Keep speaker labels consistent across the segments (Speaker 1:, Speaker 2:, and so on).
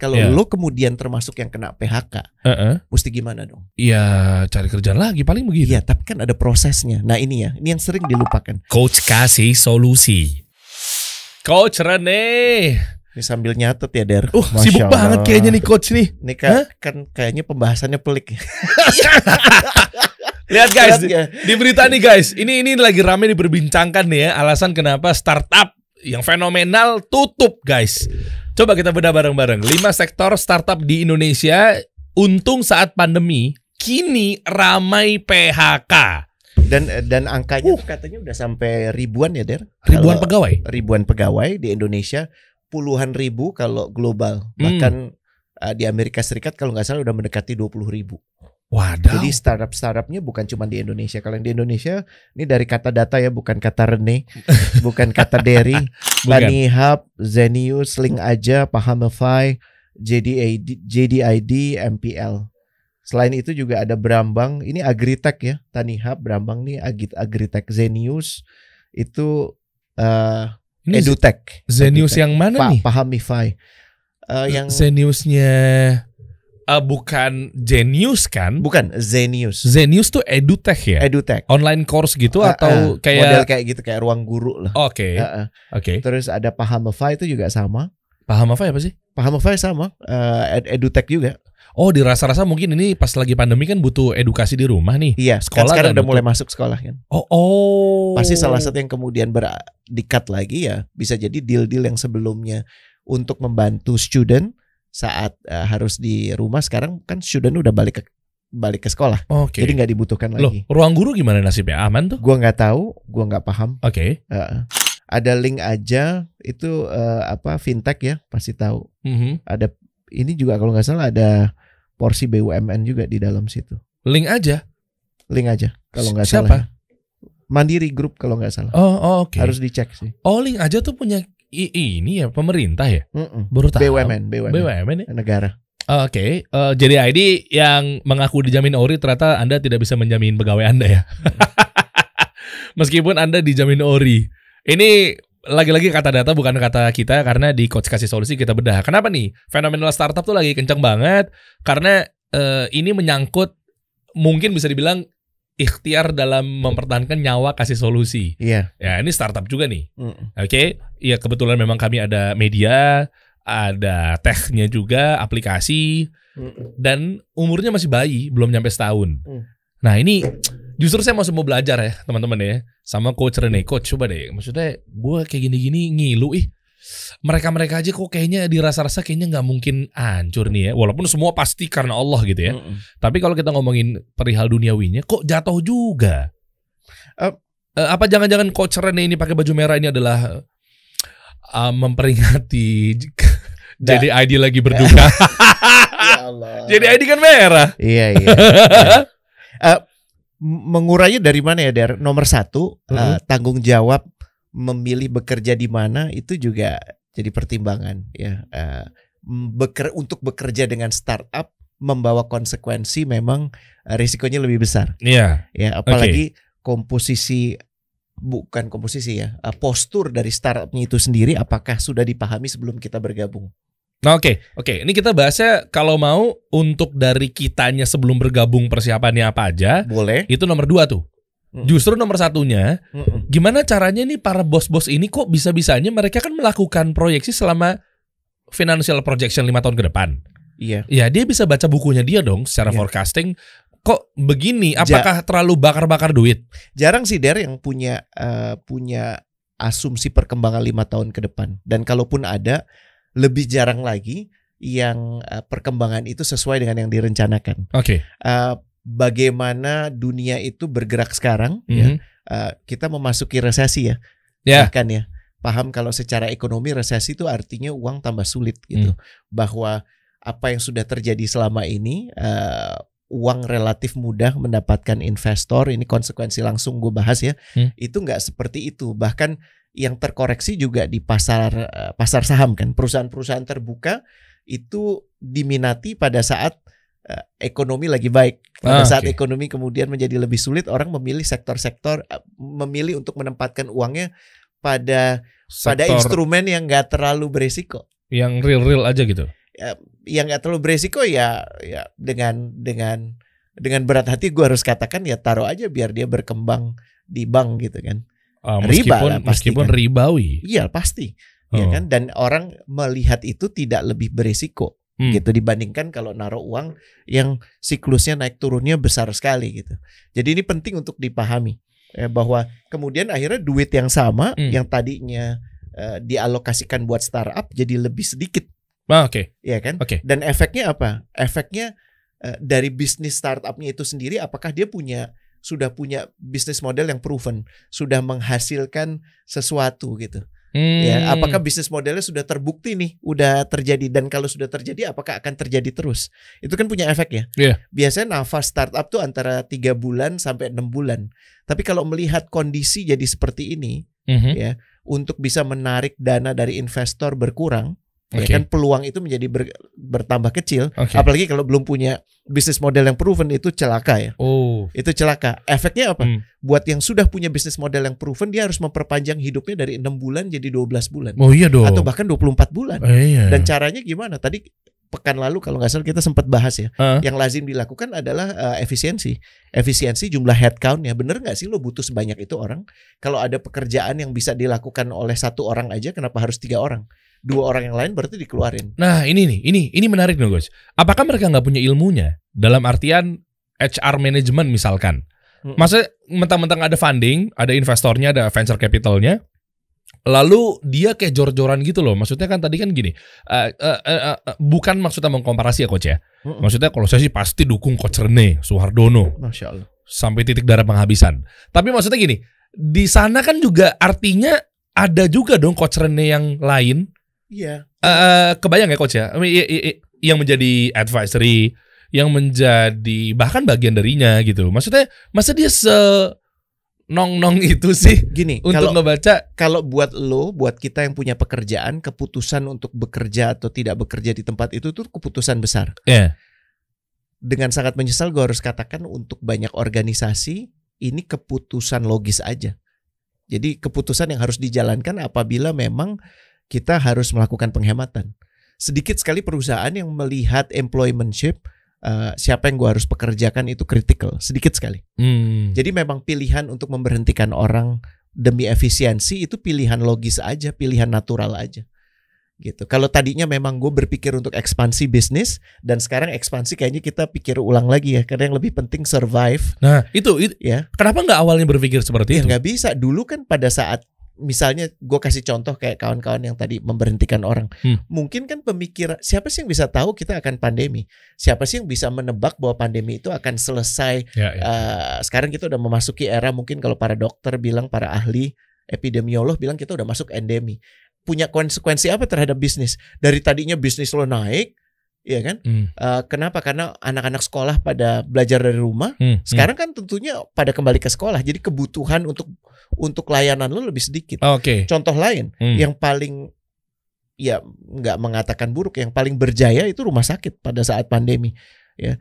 Speaker 1: Kalau
Speaker 2: Iya.
Speaker 1: lo kemudian termasuk yang kena PHK,
Speaker 2: Heeh.
Speaker 1: mesti gimana dong?
Speaker 2: Iya, cari kerjaan lagi paling begitu.
Speaker 1: Iya, tapi kan ada prosesnya. Nah ini ya, ini yang sering dilupakan.
Speaker 2: Coach kasih solusi. Coach Rene.
Speaker 1: Ini sambil nyatet ya, Der.
Speaker 2: Uh,
Speaker 3: Masya
Speaker 2: sibuk
Speaker 3: Allah.
Speaker 2: banget kayaknya nih coach nih.
Speaker 1: Ini
Speaker 2: Hah?
Speaker 1: kan, kan kayaknya pembahasannya pelik. ya.
Speaker 2: Lihat guys,
Speaker 1: Lihat nggak?
Speaker 2: di berita nih guys, ini ini lagi rame diperbincangkan nih ya alasan kenapa startup yang fenomenal tutup guys. Coba kita bedah bareng-bareng. 5 sektor startup di Indonesia untung saat pandemi kini ramai PHK.
Speaker 1: Dan dan
Speaker 2: Uh.
Speaker 1: angkanya tuh katanya udah sampai ribuan ya, Der.
Speaker 2: Ribuan
Speaker 1: Kalau
Speaker 2: pegawai.
Speaker 1: ribuan pegawai di Indonesia, puluhan ribu kalau global.
Speaker 2: Hmm.
Speaker 1: Bahkan eh, di Amerika Serikat kalau nggak salah udah mendekati 20 ribu.
Speaker 2: Waduh.
Speaker 1: Jadi startup-startupnya bukan cuma di Indonesia. Kalau yang di Indonesia, ini dari kata data ya, bukan kata Rene, bukan kata Derry,
Speaker 2: bukan.
Speaker 1: Bunny Hub, Zenius, Link Aja, Pahamify, JDID, JDID, MPL. Selain itu juga ada Brambang, ini Agritech ya, Tani Hub, Brambang nih Agit Agritech, Zenius itu eh
Speaker 2: Ini
Speaker 1: EduTech,
Speaker 2: Zenius yang mana
Speaker 1: Pa-
Speaker 2: nih?
Speaker 1: Pahamify. Eh, yang
Speaker 2: Zeniusnya eh, bukan Genius kan?
Speaker 1: bukan Zenius,
Speaker 2: Zenius tuh edutech ya?
Speaker 1: EduTech.
Speaker 2: Online course gitu
Speaker 1: Ah, Model
Speaker 2: atau kayak Iya.
Speaker 1: kayak gitu kayak ruang guru lah.
Speaker 2: Oke,
Speaker 1: Eh, eh.
Speaker 2: oke.
Speaker 1: Terus ada Pahamify itu juga sama.
Speaker 2: Paham apa ya apa sih?
Speaker 1: Pahamify sama, eh, ed- edutech juga.
Speaker 2: Oh, dirasa-rasa mungkin ini pas lagi pandemi kan butuh edukasi di rumah nih.
Speaker 1: Iya,
Speaker 2: Sekolah
Speaker 1: sekolah kan sekarang
Speaker 2: nggak
Speaker 1: udah
Speaker 2: nutup?
Speaker 1: mulai masuk sekolah kan.
Speaker 2: Oh, oh.
Speaker 1: Pasti salah satu yang kemudian ber- di-cut lagi ya, bisa jadi deal-deal yang sebelumnya untuk membantu student saat eh, harus di rumah sekarang kan student udah balik ke balik ke sekolah.
Speaker 2: Oke.
Speaker 1: Jadi nggak dibutuhkan
Speaker 2: Loh,
Speaker 1: lagi.
Speaker 2: ruang guru gimana nasibnya? Aman tuh?
Speaker 1: Gua nggak tahu, gua nggak paham.
Speaker 2: Oke.
Speaker 1: Heeh. ada link aja itu eh, apa fintech ya, pasti tahu.
Speaker 2: Mhm.
Speaker 1: Ada ini juga kalau nggak salah ada porsi BUMN juga di dalam situ.
Speaker 2: Link aja.
Speaker 1: Link aja kalau nggak
Speaker 2: Siapa?
Speaker 1: salah. ya. Mandiri Group kalau nggak salah.
Speaker 2: Oh, oh, oke.
Speaker 1: Harus dicek sih.
Speaker 2: Oh, link aja tuh punya i- ini ya pemerintah ya?
Speaker 1: Mm-mm.
Speaker 2: Baru tahu.
Speaker 1: BUMN, BUMN,
Speaker 2: BUMN ya?
Speaker 1: negara.
Speaker 2: Oke, eh, jadi ID yang mengaku dijamin ORI ternyata Anda tidak bisa menjamin pegawai Anda ya. Meskipun Anda dijamin ORI. Ini lagi-lagi kata data bukan kata kita karena di coach kasih solusi kita bedah. Kenapa nih? Fenomenal startup tuh lagi kenceng banget karena eh, ini menyangkut mungkin bisa dibilang ikhtiar dalam mempertahankan nyawa kasih solusi.
Speaker 1: Iya.
Speaker 2: Ya, ini startup juga nih.
Speaker 1: Mm-mm.
Speaker 2: Oke, ya kebetulan memang kami ada media, ada tehnya juga, aplikasi, dan umurnya masih bayi, belum nyampe setahun.
Speaker 1: Hmm.
Speaker 2: Nah ini justru saya mau semua belajar ya teman-teman ya, sama coach Rene coach coba deh, maksudnya gue kayak gini-gini ngilu ih. Mereka-mereka aja kok kayaknya dirasa-rasa kayaknya nggak mungkin hancur nih ya. Walaupun semua pasti karena Allah gitu ya.
Speaker 1: Mm-mm.
Speaker 2: Tapi kalau kita ngomongin perihal duniawinya, kok jatuh juga?
Speaker 1: Eh,
Speaker 2: Eh, apa jangan-jangan coach Rene ini pakai baju merah ini adalah eh, memperingati
Speaker 1: Da-
Speaker 2: jadi ID lagi berduka.
Speaker 1: Ya Allah.
Speaker 2: jadi ID kan merah.
Speaker 1: Iya iya. Eh, m- mengurainya dari mana ya, Der? Nomor satu, eh,
Speaker 2: Mm-mm.
Speaker 1: tanggung jawab memilih bekerja di mana itu juga jadi pertimbangan ya. Eh, m- beker- untuk bekerja dengan startup membawa konsekuensi memang eh, risikonya lebih besar
Speaker 2: Iya.
Speaker 1: ya. Apalagi komposisi bukan komposisi ya, eh, postur dari startupnya itu sendiri apakah sudah dipahami sebelum kita bergabung?
Speaker 2: Nah, oke, oke. Ini kita bahasnya kalau mau untuk dari kitanya sebelum bergabung persiapannya apa aja,
Speaker 1: Boleh.
Speaker 2: itu nomor dua tuh.
Speaker 1: Mm.
Speaker 2: Justru nomor satunya gimana caranya nih para bos-bos ini kok bisa-bisanya mereka kan melakukan proyeksi selama financial projection lima tahun ke depan.
Speaker 1: Iya.
Speaker 2: Ya dia bisa baca bukunya dia dong secara
Speaker 1: Iya.
Speaker 2: forecasting. Kok begini?
Speaker 1: Ja-
Speaker 2: Apakah terlalu bakar-bakar duit?
Speaker 1: Jarang sih Der yang punya eh, punya asumsi perkembangan lima tahun ke depan. Dan kalaupun ada, lebih jarang lagi yang eh, perkembangan itu sesuai dengan yang direncanakan.
Speaker 2: Oke.
Speaker 1: Eh, bagaimana dunia itu bergerak sekarang? ya.
Speaker 2: Mhm.
Speaker 1: Eh, kita memasuki resesi ya.
Speaker 2: Ya.
Speaker 1: Bahkan ya. Paham kalau secara ekonomi resesi itu artinya uang tambah sulit gitu.
Speaker 2: Hmm.
Speaker 1: Bahwa apa yang sudah terjadi selama ini eh, uang relatif mudah mendapatkan investor, ini konsekuensi langsung gue bahas ya.
Speaker 2: Hmm.
Speaker 1: Itu nggak seperti itu. Bahkan yang terkoreksi juga di pasar eh, pasar saham kan. Perusahaan-perusahaan terbuka itu diminati pada saat eh, ekonomi lagi baik. Pada
Speaker 2: Ah,
Speaker 1: saat
Speaker 2: oke.
Speaker 1: ekonomi kemudian menjadi lebih sulit, orang memilih sektor-sektor eh, memilih untuk menempatkan uangnya pada pada
Speaker 2: Sektor
Speaker 1: instrumen yang nggak terlalu berisiko.
Speaker 2: yang real-real aja gitu.
Speaker 1: ya, yang nggak terlalu beresiko ya ya dengan dengan dengan berat hati gue harus katakan ya taruh aja biar dia berkembang di bank gitu kan.
Speaker 2: Eh,
Speaker 1: Riba
Speaker 2: meskipun
Speaker 1: lah, pasti
Speaker 2: meskipun
Speaker 1: kan.
Speaker 2: ribawi.
Speaker 1: Iya pasti. Ya
Speaker 2: Oh.
Speaker 1: kan dan orang melihat itu tidak lebih beresiko
Speaker 2: Hmm.
Speaker 1: gitu dibandingkan kalau naruh uang yang siklusnya naik turunnya besar sekali gitu. Jadi ini penting untuk dipahami eh, bahwa kemudian akhirnya duit yang sama
Speaker 2: Hmm.
Speaker 1: yang tadinya eh, dialokasikan buat startup jadi lebih sedikit
Speaker 2: Ah, Oke.
Speaker 1: ya kan?
Speaker 2: Oke.
Speaker 1: Dan efeknya apa? Efeknya eh, dari bisnis startupnya itu sendiri, apakah dia punya sudah punya bisnis model yang proven, sudah menghasilkan sesuatu gitu.
Speaker 2: Hmm.
Speaker 1: Ya, apakah bisnis modelnya sudah terbukti nih, udah terjadi dan kalau sudah terjadi apakah akan terjadi terus? Itu kan punya efek ya.
Speaker 2: Iya.
Speaker 1: Biasanya nafas startup tuh antara tiga bulan sampai enam bulan. Tapi kalau melihat kondisi jadi seperti ini
Speaker 2: Mhm.
Speaker 1: untuk bisa menarik dana dari investor berkurang,
Speaker 2: Oke.
Speaker 1: ya kan peluang itu menjadi ber- bertambah kecil.
Speaker 2: Oke.
Speaker 1: Apalagi kalau belum punya bisnis model yang proven itu celaka ya.
Speaker 2: Oh.
Speaker 1: Itu celaka. Efeknya apa?
Speaker 2: Hmm.
Speaker 1: Buat yang sudah punya bisnis model yang proven dia harus memperpanjang hidupnya dari 6 bulan jadi 12 bulan
Speaker 2: Oh iya dong.
Speaker 1: atau bahkan 24 bulan.
Speaker 2: Eh, iya.
Speaker 1: Dan caranya gimana? Tadi pekan lalu kalau nggak salah kita sempat bahas ya.
Speaker 2: Heeh.
Speaker 1: Yang lazim dilakukan adalah eh, efisiensi. Efisiensi jumlah headcount ya. Bener nggak sih lo butuh sebanyak itu orang? Kalau ada pekerjaan yang bisa dilakukan oleh satu orang aja kenapa harus tiga orang? Dua orang yang lain berarti dikeluarin.
Speaker 2: Nah ini nih, ini ini menarik nih guys. Apakah mereka nggak punya ilmunya dalam artian HR management misalkan?
Speaker 1: Mm-mm.
Speaker 2: Maksudnya mentang-mentang ada funding, ada investornya, ada venture capitalnya, lalu dia kayak jor-joran gitu loh. Maksudnya kan tadi kan gini, eh, eh, eh, eh, bukan maksudnya mengkomparasi ya coach ya.
Speaker 1: Mm-mm.
Speaker 2: Maksudnya kalau saya sih pasti dukung coach Rene Suhardono
Speaker 1: Masya Allah.
Speaker 2: sampai titik darah penghabisan. Tapi maksudnya gini, di sana kan juga artinya ada juga dong coach Rene yang lain
Speaker 1: Iya.
Speaker 2: Eh, kebayang ya coach ya I mean, i- i- i- yang menjadi advisory yang menjadi bahkan bagian darinya gitu maksudnya masa dia se nong nong itu sih
Speaker 1: Gini,
Speaker 2: untuk
Speaker 1: kalau
Speaker 2: ngebaca
Speaker 1: kalau buat lo, buat kita yang punya pekerjaan, keputusan untuk bekerja atau tidak bekerja di tempat itu tuh keputusan besar.
Speaker 2: ya
Speaker 1: Dengan sangat menyesal gue harus katakan untuk banyak organisasi ini keputusan logis aja. Jadi keputusan yang harus dijalankan apabila memang kita harus melakukan penghematan. Sedikit sekali perusahaan yang melihat employmentship eh, siapa yang gue harus pekerjakan itu critical, sedikit sekali.
Speaker 2: hmm.
Speaker 1: Jadi memang pilihan untuk memberhentikan orang demi efisiensi itu pilihan logis aja, pilihan natural aja. Gitu. Kalau tadinya memang gue berpikir untuk ekspansi bisnis dan sekarang ekspansi kayaknya kita pikir ulang lagi ya karena yang lebih penting survive.
Speaker 2: nah itu, itu
Speaker 1: Ya.
Speaker 2: kenapa nggak awalnya berpikir
Speaker 1: Ya
Speaker 2: seperti itu
Speaker 1: nggak bisa. Dulu kan pada saat misalnya gue kasih contoh kayak kawan-kawan yang tadi memberhentikan orang,
Speaker 2: Hmm.
Speaker 1: mungkin kan pemikir siapa sih yang bisa tahu kita akan pandemi? Siapa sih yang bisa menebak bahwa pandemi itu akan selesai
Speaker 2: ya, ya.
Speaker 1: Eh, sekarang kita udah memasuki era mungkin kalau para dokter bilang para ahli epidemiolog bilang kita udah masuk endemi. Punya konsekuensi apa terhadap bisnis? Dari tadinya bisnis lo naik, ya kan?
Speaker 2: Hmm,
Speaker 1: Eh, kenapa? Karena anak-anak sekolah pada belajar dari rumah.
Speaker 2: hmm,
Speaker 1: Sekarang kan tentunya pada kembali ke sekolah, jadi kebutuhan untuk untuk layanan lo lebih sedikit.
Speaker 2: hmm. oke
Speaker 1: Contoh lain
Speaker 2: Hmm.
Speaker 1: yang paling ya nggak mengatakan buruk, yang paling berjaya itu rumah sakit pada saat pandemi.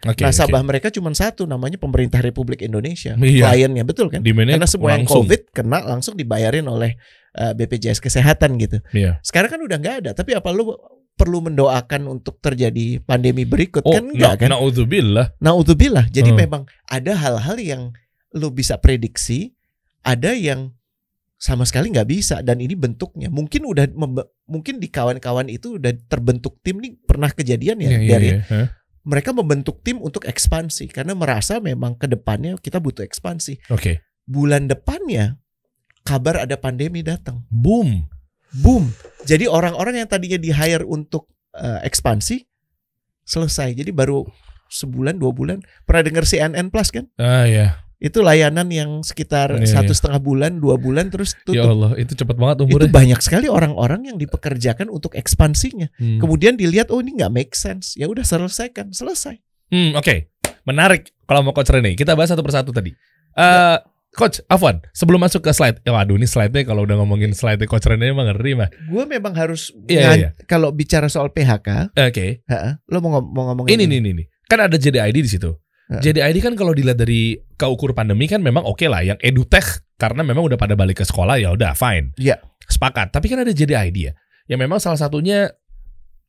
Speaker 2: oke
Speaker 1: Nasabah mereka cuma satu namanya pemerintah Republik Indonesia.
Speaker 2: Iya.
Speaker 1: Kliennya betul kan?
Speaker 2: di mana
Speaker 1: Karena semua yang
Speaker 2: langsung
Speaker 1: COVID kena langsung dibayarin oleh eh, BPJS Kesehatan gitu.
Speaker 2: Iya.
Speaker 1: Sekarang kan udah nggak ada, tapi apa lu perlu mendoakan untuk terjadi pandemi berikut
Speaker 2: oh
Speaker 1: kan enggak kan?
Speaker 2: na- naudzubillah.
Speaker 1: Nah, utubillah. Jadi
Speaker 2: Hmm.
Speaker 1: memang ada hal-hal yang lu bisa prediksi, ada yang sama sekali nggak bisa dan ini bentuknya mungkin udah membe- mungkin di kawan-kawan itu udah terbentuk tim nih pernah kejadian ya
Speaker 2: Iya, iya,
Speaker 1: dari
Speaker 2: iya. Hah?
Speaker 1: mereka membentuk tim untuk ekspansi karena merasa memang ke depannya kita butuh ekspansi.
Speaker 2: oke
Speaker 1: Bulan depannya kabar ada pandemi datang.
Speaker 2: boom
Speaker 1: Boom. Jadi orang-orang yang tadinya di-hire untuk eh, ekspansi selesai. Jadi baru sebulan dua bulan pernah dengar CNN Plus kan?
Speaker 2: ah ya
Speaker 1: Itu layanan yang sekitar
Speaker 2: Iya,
Speaker 1: satu setengah bulan dua bulan terus
Speaker 2: ya
Speaker 1: tutup.
Speaker 2: Allah itu cepat banget
Speaker 1: itu
Speaker 2: umurnya
Speaker 1: banyak sekali orang-orang yang dipekerjakan untuk ekspansinya.
Speaker 2: Hmm.
Speaker 1: Kemudian dilihat oh ini nggak make sense. Ya udah selesaikan, selesai.
Speaker 2: Hmm, oke. Menarik kalau mau coach Rene. Kita bahas satu persatu tadi. Eh Coach Afwan, sebelum masuk ke slide, ya waduh ini slide-nya kalau udah ngomongin slide coach Rene emang ngeri mah.
Speaker 1: gue memang harus
Speaker 2: Iya,
Speaker 1: ngan-
Speaker 2: iya,
Speaker 1: kalau bicara soal PHK,
Speaker 2: Oke.
Speaker 1: heeh, lo mau, ngom- mau ngomongin
Speaker 2: Ini nih nih nih. Kan ada JDID di situ.
Speaker 1: Heeh.
Speaker 2: JDID kan kalau dilihat dari keukur pandemi kan memang oke lah yang edutech karena memang udah pada balik ke sekolah ya udah fine.
Speaker 1: Iya.
Speaker 2: Sepakat. Tapi kan ada JDID ya. Yang memang salah satunya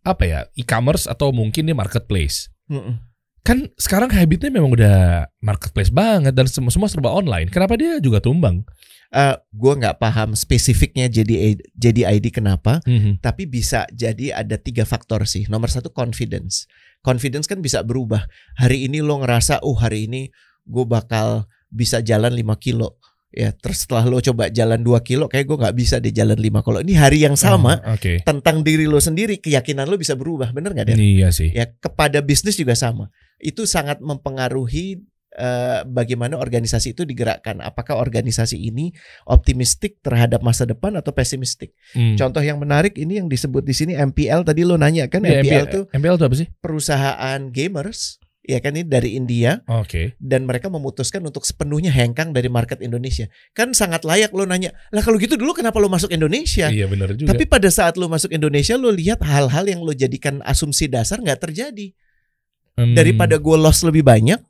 Speaker 2: apa ya e-commerce atau mungkin di marketplace.
Speaker 1: Mm-mm.
Speaker 2: Kan sekarang habitnya memang udah marketplace banget dan semua semua serba online. Kenapa dia juga tumbang?
Speaker 1: Eh, gua nggak paham spesifiknya jadi jadi ID kenapa tapi bisa jadi ada tiga faktor sih. Nomor satu confidence. Confidence kan bisa berubah. Hari ini lo ngerasa, oh hari ini gue bakal bisa jalan 5 kilo. Ya, terus setelah lo coba jalan 2 kilo, kayak gue nggak bisa deh jalan 5 kilo. Ini hari yang sama,
Speaker 2: Ah, Oke.
Speaker 1: tentang diri lo sendiri, keyakinan lo bisa berubah, bener nggak Den?
Speaker 2: Iya sih.
Speaker 1: Ya, kepada bisnis juga sama. Itu sangat mempengaruhi eh, bagaimana organisasi itu digerakkan. Apakah organisasi ini optimistik terhadap masa depan atau pesimistik?
Speaker 2: Hmm.
Speaker 1: Contoh yang menarik ini yang disebut di sini MPL tadi lo nanya kan
Speaker 2: Iya,
Speaker 1: MPL
Speaker 2: MPL
Speaker 1: tuh
Speaker 2: MPL itu apa sih?
Speaker 1: perusahaan gamers ya kan ini dari India
Speaker 2: Oke.
Speaker 1: dan mereka memutuskan untuk sepenuhnya hengkang dari market Indonesia. Kan sangat layak lo nanya. Lah kalau gitu dulu kenapa lo masuk Indonesia?
Speaker 2: Iya benar juga.
Speaker 1: Tapi pada saat lo masuk Indonesia lo lihat hal-hal yang lo jadikan asumsi dasar nggak terjadi.
Speaker 2: Hmm,
Speaker 1: Daripada gue loss lebih banyak,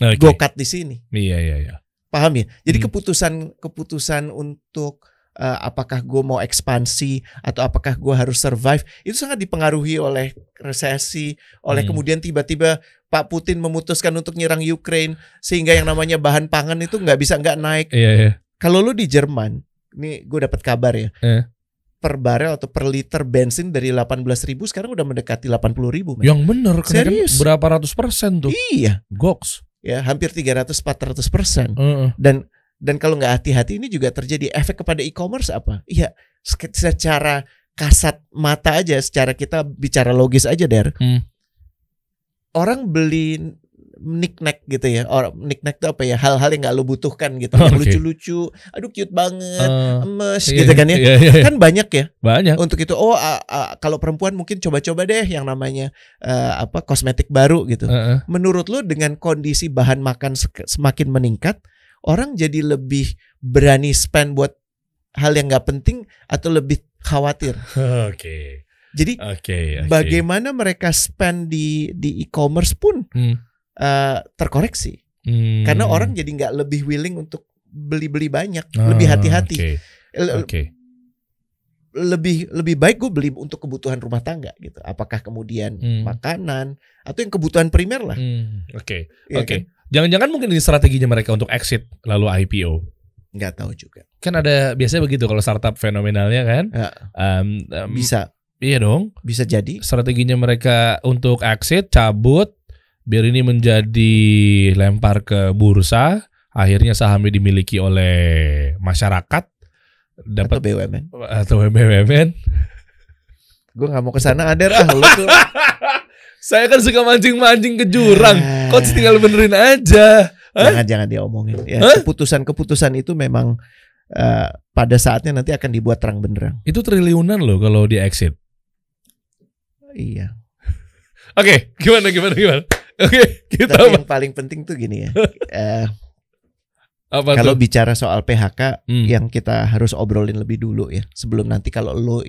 Speaker 2: oke.
Speaker 1: gue cut di sini.
Speaker 2: Iya iya iya.
Speaker 1: paham ya jadi
Speaker 2: Hmm.
Speaker 1: keputusan keputusan untuk eh, apakah gue mau ekspansi atau apakah gue harus survive itu sangat dipengaruhi oleh resesi oleh
Speaker 2: Hmm.
Speaker 1: kemudian tiba-tiba Pak Putin memutuskan untuk nyerang Ukraine sehingga yang namanya bahan pangan itu nggak bisa nggak naik
Speaker 2: Iya iya.
Speaker 1: kalau lu di Jerman nih gue dapat kabar ya
Speaker 2: Eh.
Speaker 1: per barel atau per liter bensin dari 18.000 sekarang udah mendekati 80.000 ribu
Speaker 2: Yang benar kenaikan
Speaker 1: Serius?
Speaker 2: berapa ratus persen tuh?
Speaker 1: iya
Speaker 2: Goks.
Speaker 1: ya hampir 300-400 persen
Speaker 2: Heeh.
Speaker 1: dan dan kalau nggak hati-hati ini juga terjadi efek kepada e-commerce apa? Iya, sek- secara kasat mata aja, secara kita bicara logis aja der.
Speaker 2: Hmm.
Speaker 1: Orang beli knick-knack gitu ya, orang knick-knack itu apa ya? Hal-hal yang nggak lo butuhkan gitu, yang
Speaker 2: Oh, Oke.
Speaker 1: lucu-lucu, aduh cute banget,
Speaker 2: Eh,
Speaker 1: emes
Speaker 2: iya,
Speaker 1: gitu kan ya?
Speaker 2: Iya, iya, iya.
Speaker 1: Kan banyak ya
Speaker 2: Banyak.
Speaker 1: untuk itu. Oh, a- a- kalau perempuan mungkin coba-coba deh yang namanya eh, apa kosmetik baru gitu
Speaker 2: Heeh.
Speaker 1: menurut lo dengan kondisi bahan makan sek- semakin meningkat, orang jadi lebih berani spend buat hal yang nggak penting atau lebih khawatir.
Speaker 2: Oke.
Speaker 1: Jadi
Speaker 2: Oke. oke.
Speaker 1: bagaimana mereka spend di di e-commerce pun
Speaker 2: Hmm.
Speaker 1: eh, terkoreksi
Speaker 2: Hmm.
Speaker 1: karena orang jadi nggak lebih willing untuk beli-beli banyak,
Speaker 2: Ah,
Speaker 1: lebih hati-hati,
Speaker 2: Oke. Ah.
Speaker 1: L-
Speaker 2: oke.
Speaker 1: lebih lebih baik gue beli untuk kebutuhan rumah tangga gitu. Apakah kemudian
Speaker 2: Hmm.
Speaker 1: makanan atau yang kebutuhan primer lah?
Speaker 2: Hmm, Oke.
Speaker 1: ya kan?
Speaker 2: Oke. Jangan-jangan mungkin ini strateginya mereka untuk exit lalu IPO.
Speaker 1: nggak tahu juga.
Speaker 2: Kan ada biasanya begitu kalau startup fenomenalnya kan.
Speaker 1: Ya.
Speaker 2: Em, em,
Speaker 1: Bisa
Speaker 2: Iya dong.
Speaker 1: bisa jadi.
Speaker 2: Strateginya mereka untuk exit cabut biar ini menjadi lempar ke bursa, akhirnya sahamnya dimiliki oleh masyarakat
Speaker 1: Atau
Speaker 2: dapat
Speaker 1: BUMN.
Speaker 2: atau BUMN.
Speaker 1: gue nggak mau ke sana ader ah lu tuh
Speaker 2: Saya kan suka mancing-mancing ke jurang. Coach tinggal benerin aja. Hah?
Speaker 1: jangan jangan diomongin ya
Speaker 2: Hah?
Speaker 1: keputusan-keputusan itu memang eh, pada saatnya nanti akan dibuat terang benderang
Speaker 2: Itu triliunan loh kalau di exit.
Speaker 1: iya
Speaker 2: Oke, gimana gimana gimana. Oke, kita
Speaker 1: tapi yang paling penting tuh gini ya eh,
Speaker 2: apa
Speaker 1: kalau
Speaker 2: tuh?
Speaker 1: bicara soal PHK
Speaker 2: Hmm,
Speaker 1: yang kita harus obrolin lebih dulu ya sebelum nanti kalau lo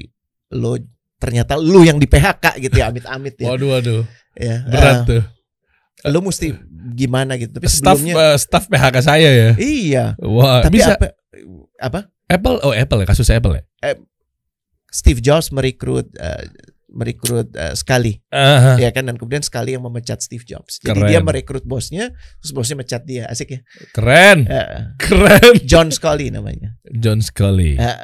Speaker 1: lo ternyata lu yang di PHK gitu ya amit-amit ya,
Speaker 2: Waduh waduh,
Speaker 1: ya.
Speaker 2: berat tuh.
Speaker 1: Eh, lo mesti gimana gitu tapi
Speaker 2: Staff
Speaker 1: sebelumnya
Speaker 2: eh, staff PHK saya ya.
Speaker 1: iya
Speaker 2: Wah,
Speaker 1: tapi Iya.
Speaker 2: bisa
Speaker 1: apa apa
Speaker 2: Apple oh Apple ya kasus Apple ya.
Speaker 1: Steve Jobs merekrut eh, merekrut eh, sekali
Speaker 2: Ah,
Speaker 1: ya kan dan kemudian sekali yang memecat Steve Jobs. Jadi
Speaker 2: Keren.
Speaker 1: dia merekrut bosnya, terus bosnya mecat dia. Asik ya.
Speaker 2: keren,
Speaker 1: Eh,
Speaker 2: keren.
Speaker 1: John Scully namanya.
Speaker 2: John Scully.
Speaker 1: Eh,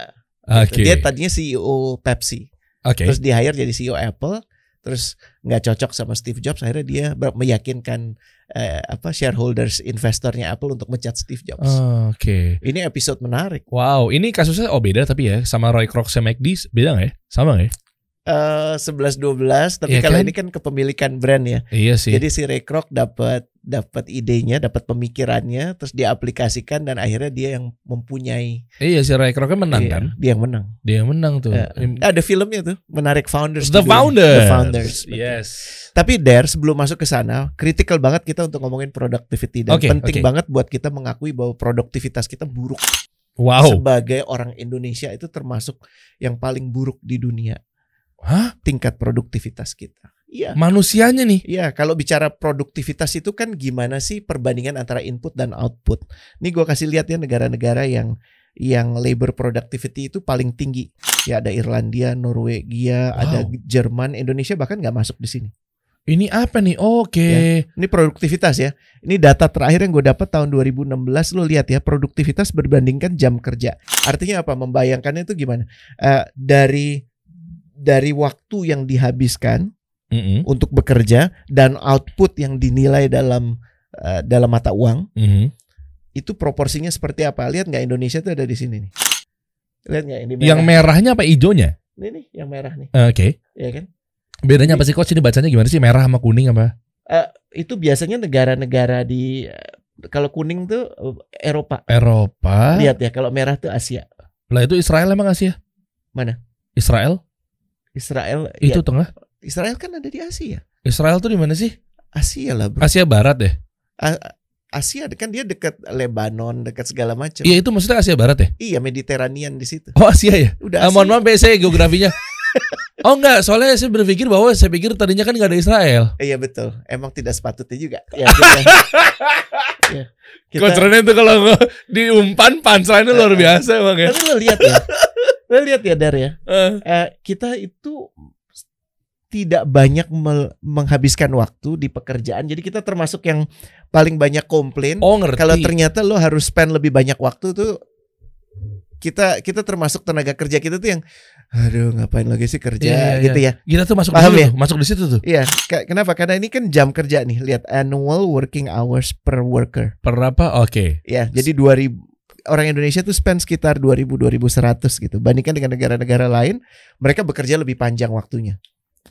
Speaker 2: Oke,
Speaker 1: Dia tadinya CEO Pepsi,
Speaker 2: oke.
Speaker 1: terus di hire jadi CEO Apple, terus nggak cocok sama Steve Jobs. Akhirnya dia ber- meyakinkan eh, apa shareholders investornya Apple untuk mecat Steve Jobs.
Speaker 2: Ah, Oke.
Speaker 1: Ini episode menarik.
Speaker 2: Wow, ini kasusnya oh beda tapi ya sama Roy Kroc sama McD beda nggak ya? Sama nggak ya?
Speaker 1: Eh 11-12, tapi
Speaker 2: Iya
Speaker 1: kalau
Speaker 2: kan?
Speaker 1: ini kan kepemilikan brand ya.
Speaker 2: Iya sih.
Speaker 1: Jadi si Rekrok dapat dapat idenya, dapat pemikirannya, terus diaplikasikan dan akhirnya dia yang mempunyai
Speaker 2: iya si Roy Kroc menang
Speaker 1: Iya,
Speaker 2: kan?
Speaker 1: Dia yang menang.
Speaker 2: Dia yang menang tuh.
Speaker 1: Eh, Ada filmnya tuh, menarik founders.
Speaker 2: The
Speaker 1: judulnya.
Speaker 2: Founders.
Speaker 1: The founders. betul.
Speaker 2: Yes.
Speaker 1: Tapi there sebelum masuk ke sana, kritikal banget kita untuk ngomongin productivity dan
Speaker 2: Oke,
Speaker 1: penting
Speaker 2: oke.
Speaker 1: banget buat kita mengakui bahwa produktivitas kita buruk
Speaker 2: Wow.
Speaker 1: sebagai orang Indonesia itu termasuk yang paling buruk di dunia
Speaker 2: Hah?
Speaker 1: tingkat produktivitas kita. Iya.
Speaker 2: Manusianya nih.
Speaker 1: Iya, kalau bicara produktivitas itu kan gimana sih perbandingan antara input dan output. Ini gua kasih lihat ya negara-negara yang yang labor productivity itu paling tinggi. Ya ada Irlandia, Norwegia,
Speaker 2: Wow.
Speaker 1: ada Jerman, Indonesia bahkan nggak masuk di sini.
Speaker 2: Ini apa nih? Oke.
Speaker 1: Ini produktivitas ya. Ini data terakhir yang gue dapat tahun 2016 lo lihat ya produktivitas berbandingkan jam kerja. Artinya apa? Membayangkannya itu gimana? Eh, dari dari waktu yang dihabiskan
Speaker 2: Mm-mm.
Speaker 1: untuk bekerja dan output yang dinilai dalam eh, dalam mata uang
Speaker 2: Mhm.
Speaker 1: itu proporsinya seperti apa? Lihat nggak Indonesia tuh ada di sini nih. Lihat nggak ini merah.
Speaker 2: Yang merahnya apa hijaunya?
Speaker 1: ini nih yang merah nih,
Speaker 2: Oke.
Speaker 1: ya kan?
Speaker 2: Bedanya apa sih coach? Ini bacanya gimana sih? Merah sama kuning apa?
Speaker 1: Itu biasanya negara-negara di eh, kalau kuning tuh eh, Eropa.
Speaker 2: Eropa.
Speaker 1: Lihat ya kalau merah tuh Asia.
Speaker 2: Lah itu Israel emang Asia?
Speaker 1: Mana?
Speaker 2: Israel?
Speaker 1: Israel ya,
Speaker 2: Itu tengah.
Speaker 1: Israel kan ada di Asia.
Speaker 2: Israel tuh di mana sih?
Speaker 1: Asia lah, bro.
Speaker 2: Asia Barat ya? deh.
Speaker 1: A- Asia kan dia dekat Lebanon, dekat segala macam.
Speaker 2: Iya itu maksudnya Asia Barat ya?
Speaker 1: Iya, Mediteranian di situ.
Speaker 2: Oh Asia ya?
Speaker 1: Udah
Speaker 2: Ah,
Speaker 1: Asia.
Speaker 2: mohon maaf ya, saya geografinya. oh enggak, soalnya saya berpikir bahwa saya pikir tadinya kan nggak ada Israel.
Speaker 1: Iya betul. Emang tidak sepatutnya juga. Ya, kita, ya, kita, Eh,
Speaker 2: Kocerannya itu kalau nggak diumpan panserannya luar biasa emang ya.
Speaker 1: tapi lo lihat ya. lo lihat ya Dar ya.
Speaker 2: Eh,
Speaker 1: Eh, kita itu tidak banyak mel- menghabiskan waktu di pekerjaan. Jadi kita termasuk yang paling banyak komplain.
Speaker 2: Oh ngerti.
Speaker 1: Kalau ternyata lo harus spend lebih banyak waktu tuh kita kita termasuk tenaga kerja kita tuh yang aduh ngapain lagi sih kerja
Speaker 2: Iya, iya,
Speaker 1: gitu ya.
Speaker 2: kita tuh masuk di
Speaker 1: Paham
Speaker 2: situ,
Speaker 1: ya?
Speaker 2: tuh, masuk di situ tuh.
Speaker 1: Iya, ke- kenapa? Karena ini kan jam kerja nih. Lihat annual working hours per worker.
Speaker 2: Berapa? Oke.
Speaker 1: Ya, jadi 2000 orang Indonesia tuh spend sekitar 2000 2100 gitu. Bandingkan dengan negara-negara lain, mereka bekerja lebih panjang waktunya.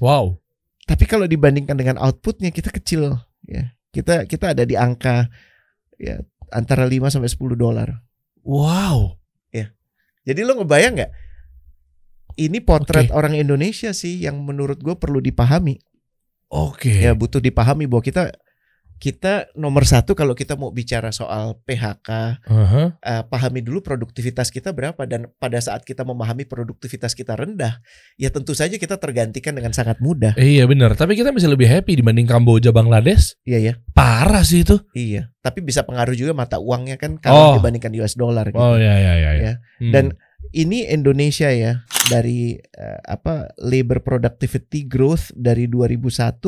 Speaker 2: Wow.
Speaker 1: Tapi kalau dibandingkan dengan outputnya kita kecil ya. Kita kita ada di angka ya antara 5 sampai 10 dolar.
Speaker 2: Wow.
Speaker 1: Jadi lo ngebayang nggak? Ini potret orang Indonesia sih yang menurut gue perlu dipahami.
Speaker 2: Oke.
Speaker 1: Ya butuh dipahami bahwa kita kita nomor satu kalau kita mau bicara soal PHK,
Speaker 2: Aha.
Speaker 1: eh, pahami dulu produktivitas kita berapa dan pada saat kita memahami produktivitas kita rendah, ya tentu saja kita tergantikan dengan sangat mudah.
Speaker 2: Eh, Iya benar, tapi kita masih lebih happy dibanding Kamboja, Bangladesh.
Speaker 1: Iya ya.
Speaker 2: Parah sih itu.
Speaker 1: Iya. Tapi bisa pengaruh juga mata uangnya kan kalau
Speaker 2: Oh.
Speaker 1: dibandingkan US dollar gitu.
Speaker 2: Oh ya ya ya.
Speaker 1: Ya.
Speaker 2: Hmm.
Speaker 1: Dan ini Indonesia ya dari eh, apa labor productivity growth dari 2001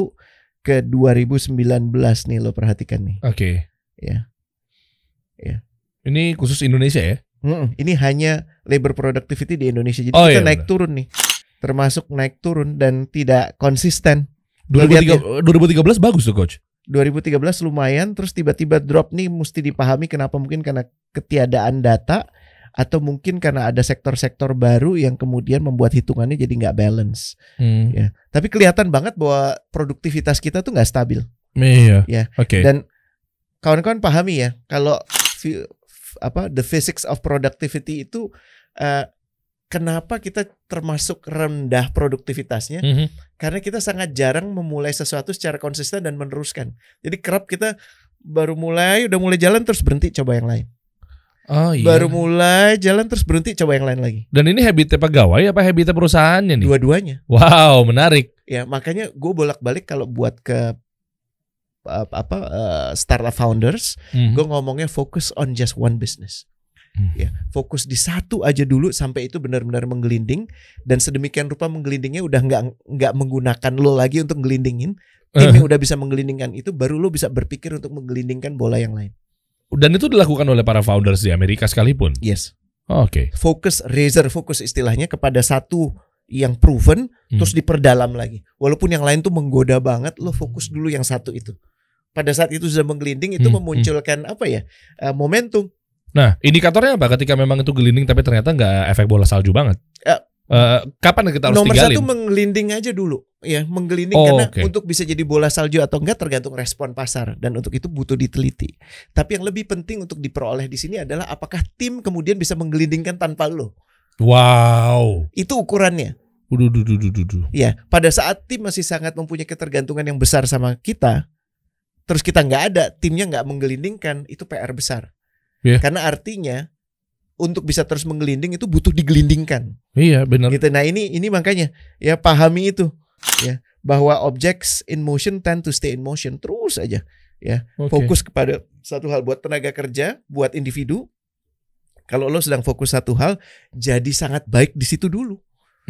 Speaker 1: ke 2019 nih lo perhatikan nih.
Speaker 2: oke.
Speaker 1: Ya. Ya.
Speaker 2: Ini khusus Indonesia ya.
Speaker 1: Mm-mm. Ini hanya labor productivity di Indonesia. Jadi
Speaker 2: Oh,
Speaker 1: kita
Speaker 2: iya,
Speaker 1: naik turun nih. Termasuk naik turun dan tidak konsisten.
Speaker 2: 2003 2013 bagus tuh coach.
Speaker 1: 2013 lumayan terus tiba-tiba drop nih mesti dipahami kenapa mungkin karena ketiadaan data atau mungkin karena ada sektor-sektor baru yang kemudian membuat hitungannya jadi nggak balance.
Speaker 2: Hmm.
Speaker 1: Ya. Tapi kelihatan banget bahwa produktivitas kita tuh nggak stabil.
Speaker 2: Iya.
Speaker 1: Ya.
Speaker 2: Oke.
Speaker 1: Dan kawan-kawan pahami ya kalau fi- f- apa the physics of productivity itu eh, kenapa kita termasuk rendah produktivitasnya?
Speaker 2: Mhm.
Speaker 1: karena kita sangat jarang memulai sesuatu secara konsisten dan meneruskan. Jadi kerap kita baru mulai, udah mulai jalan terus berhenti coba yang lain.
Speaker 2: Oh iya.
Speaker 1: Baru mulai jalan terus berhenti coba yang lain lagi.
Speaker 2: Dan ini habitnya pegawai apa habitnya perusahaannya nih?
Speaker 1: Dua-duanya.
Speaker 2: Wow, menarik.
Speaker 1: Ya makanya gue bolak-balik kalau buat ke ap- apa eh, startup founders,
Speaker 2: Mhm.
Speaker 1: gue ngomongnya focus on just one business.
Speaker 2: Hmm.
Speaker 1: Ya, fokus di satu aja dulu sampai itu benar-benar menggelinding dan sedemikian rupa menggelindingnya udah nggak nggak menggunakan lo lagi untuk ngelindingin, tim
Speaker 2: Eh.
Speaker 1: yang udah bisa menggelindingkan itu baru lo bisa berpikir untuk menggelindingkan bola yang lain.
Speaker 2: Dan itu dilakukan oleh para founders di Amerika sekalipun.
Speaker 1: Yes.
Speaker 2: Oh, Oke.
Speaker 1: Fokus razor fokus istilahnya kepada satu yang proven
Speaker 2: Hmm.
Speaker 1: terus diperdalam lagi. Walaupun yang lain tuh menggoda banget, lo fokus dulu yang satu itu. Pada saat itu sudah menggelinding itu
Speaker 2: Hmm,
Speaker 1: memunculkan apa ya? eh, momentum.
Speaker 2: Nah, indikatornya apa ketika memang itu gelinding tapi ternyata nggak efek bola salju banget?
Speaker 1: Eh,
Speaker 2: Eh, kapan kita harus
Speaker 1: Nomor
Speaker 2: tinggalin?
Speaker 1: satu menggelinding aja dulu. Ya, menggelinding
Speaker 2: Oh,
Speaker 1: karena
Speaker 2: oke.
Speaker 1: untuk bisa jadi bola salju atau enggak tergantung respon pasar dan untuk itu butuh diteliti. Tapi yang lebih penting untuk diperoleh di sini adalah apakah tim kemudian bisa menggelindingkan tanpa lo.
Speaker 2: Wow.
Speaker 1: Itu ukurannya.
Speaker 2: Duh, duh, duh, duh, duh, duh.
Speaker 1: Ya, pada saat tim masih sangat mempunyai ketergantungan yang besar sama kita, terus kita nggak ada, timnya nggak menggelindingkan, itu PR besar.
Speaker 2: Iya.
Speaker 1: Karena artinya untuk bisa terus menggelinding itu butuh digelindingkan.
Speaker 2: Iya, benar.
Speaker 1: Gitu. Nah, ini ini makanya ya pahami itu ya, bahwa objects in motion tend to stay in motion terus aja.
Speaker 2: Oke.
Speaker 1: Fokus kepada satu hal buat tenaga kerja, buat individu. Kalau lo sedang fokus satu hal, jadi sangat baik di situ dulu.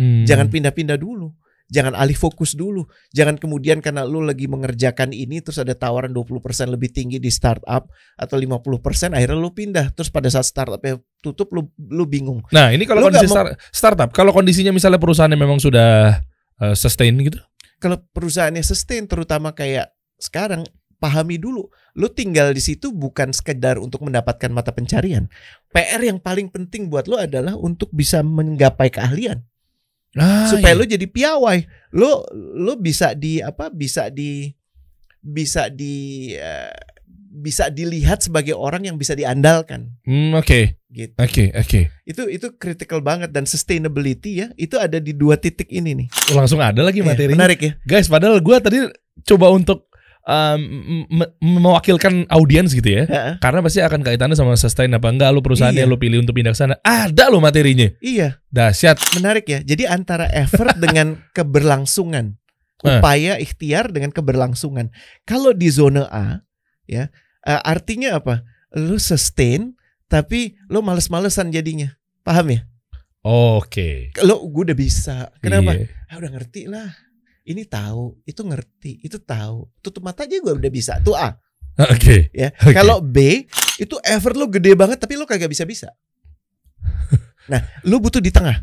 Speaker 2: Hmm.
Speaker 1: Jangan pindah-pindah dulu. Jangan alih fokus dulu. Jangan kemudian karena lu lagi mengerjakan ini terus ada tawaran 20% lebih tinggi di startup atau 50% akhirnya lu pindah. Terus pada saat startupnya tutup lu lu bingung.
Speaker 2: Nah, ini
Speaker 1: Lu
Speaker 2: kalau kondisi
Speaker 1: nggak mau-
Speaker 2: star- startup, kalau kondisinya misalnya perusahaannya memang sudah eh, sustain gitu.
Speaker 1: Kalau perusahaannya sustain terutama kayak sekarang pahami dulu lu tinggal di situ bukan sekedar untuk mendapatkan mata pencarian. PR yang paling penting buat lu adalah untuk bisa menggapai keahlian.
Speaker 2: Ah,
Speaker 1: supaya
Speaker 2: iya.
Speaker 1: lu jadi piawai. Lu lu bisa di apa? Bisa di bisa di eh, bisa dilihat sebagai orang yang bisa diandalkan
Speaker 2: Hmm, oke.
Speaker 1: gitu.
Speaker 2: Oke, oke.
Speaker 1: Itu itu critical banget dan sustainability ya. Itu ada di dua titik ini nih.
Speaker 2: Oh, Langsung ada lagi
Speaker 1: Iya,
Speaker 2: materinya.
Speaker 1: menarik ya.
Speaker 2: Guys, padahal gua tadi coba untuk em, me- mewakilkan audiens gitu ya.
Speaker 1: Heeh.
Speaker 2: Karena pasti akan kaitannya sama sustain apa enggak lu perusahaannya
Speaker 1: Iya.
Speaker 2: lu pilih untuk pindah ke sana. Ada lo materinya.
Speaker 1: Iya,
Speaker 2: Dahsyat.
Speaker 1: menarik ya. Jadi antara effort dengan keberlangsungan.
Speaker 2: Eh.
Speaker 1: Upaya ikhtiar dengan keberlangsungan. Kalau di zona A ya, eh, artinya apa? Lu sustain tapi lu males-malesan jadinya. Paham ya?
Speaker 2: Oke.
Speaker 1: lo gue udah bisa kenapa
Speaker 2: Iya.
Speaker 1: ah udah ngerti lah ini tahu itu ngerti itu tahu tutup mata aja gue udah bisa tuh A
Speaker 2: Oke.
Speaker 1: ya
Speaker 2: Oke.
Speaker 1: kalau B itu effort lo gede banget tapi lo kagak bisa bisa nah lo butuh di tengah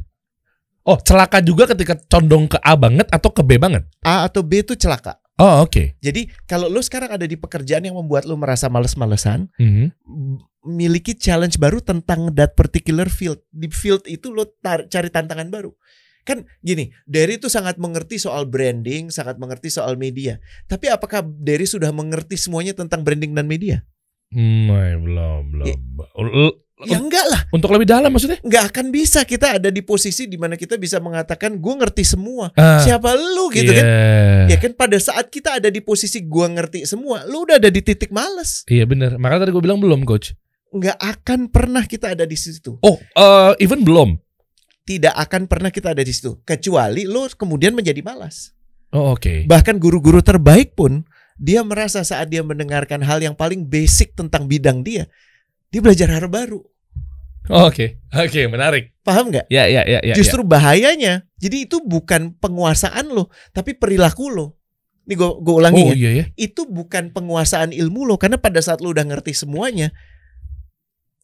Speaker 2: Oh, celaka juga ketika condong ke A banget atau ke B banget.
Speaker 1: A atau B itu celaka
Speaker 2: Oh, oke.
Speaker 1: jadi kalau lo sekarang ada di pekerjaan yang membuat lo merasa males-malesan
Speaker 2: Mhm.
Speaker 1: m- miliki challenge baru tentang that particular field di field itu lo tar- cari tantangan baru kan gini Derry itu sangat mengerti soal branding sangat mengerti soal media tapi apakah Derry sudah mengerti semuanya tentang branding dan media
Speaker 2: Hmm, eh, belum, belum. L-
Speaker 1: ya enggak lah
Speaker 2: Untuk lebih dalam maksudnya?
Speaker 1: enggak akan bisa kita ada di posisi di mana kita bisa mengatakan gue ngerti semua
Speaker 2: Ah.
Speaker 1: siapa lu gitu kan
Speaker 2: kan?
Speaker 1: ya kan pada saat kita ada di posisi gua ngerti semua lu udah ada di titik males
Speaker 2: Iya benar. Makanya tadi gue bilang belum, coach.
Speaker 1: enggak akan pernah kita ada di situ
Speaker 2: Oh, eh, even belum.
Speaker 1: tidak akan pernah kita ada di situ kecuali lo kemudian menjadi malas.
Speaker 2: Oh, oke.
Speaker 1: Bahkan guru-guru terbaik pun dia merasa saat dia mendengarkan hal yang paling basic tentang bidang dia, dia belajar hal baru.
Speaker 2: Oh, oke. Oke, menarik.
Speaker 1: Paham nggak?
Speaker 2: Ya, ya, ya, ya. ya.
Speaker 1: Justru bahayanya. Jadi itu bukan penguasaan lo, tapi perilaku lo. Ini gue ulangi
Speaker 2: Oh
Speaker 1: ya.
Speaker 2: iya ya.
Speaker 1: Itu bukan penguasaan ilmu lo karena pada saat lo udah ngerti semuanya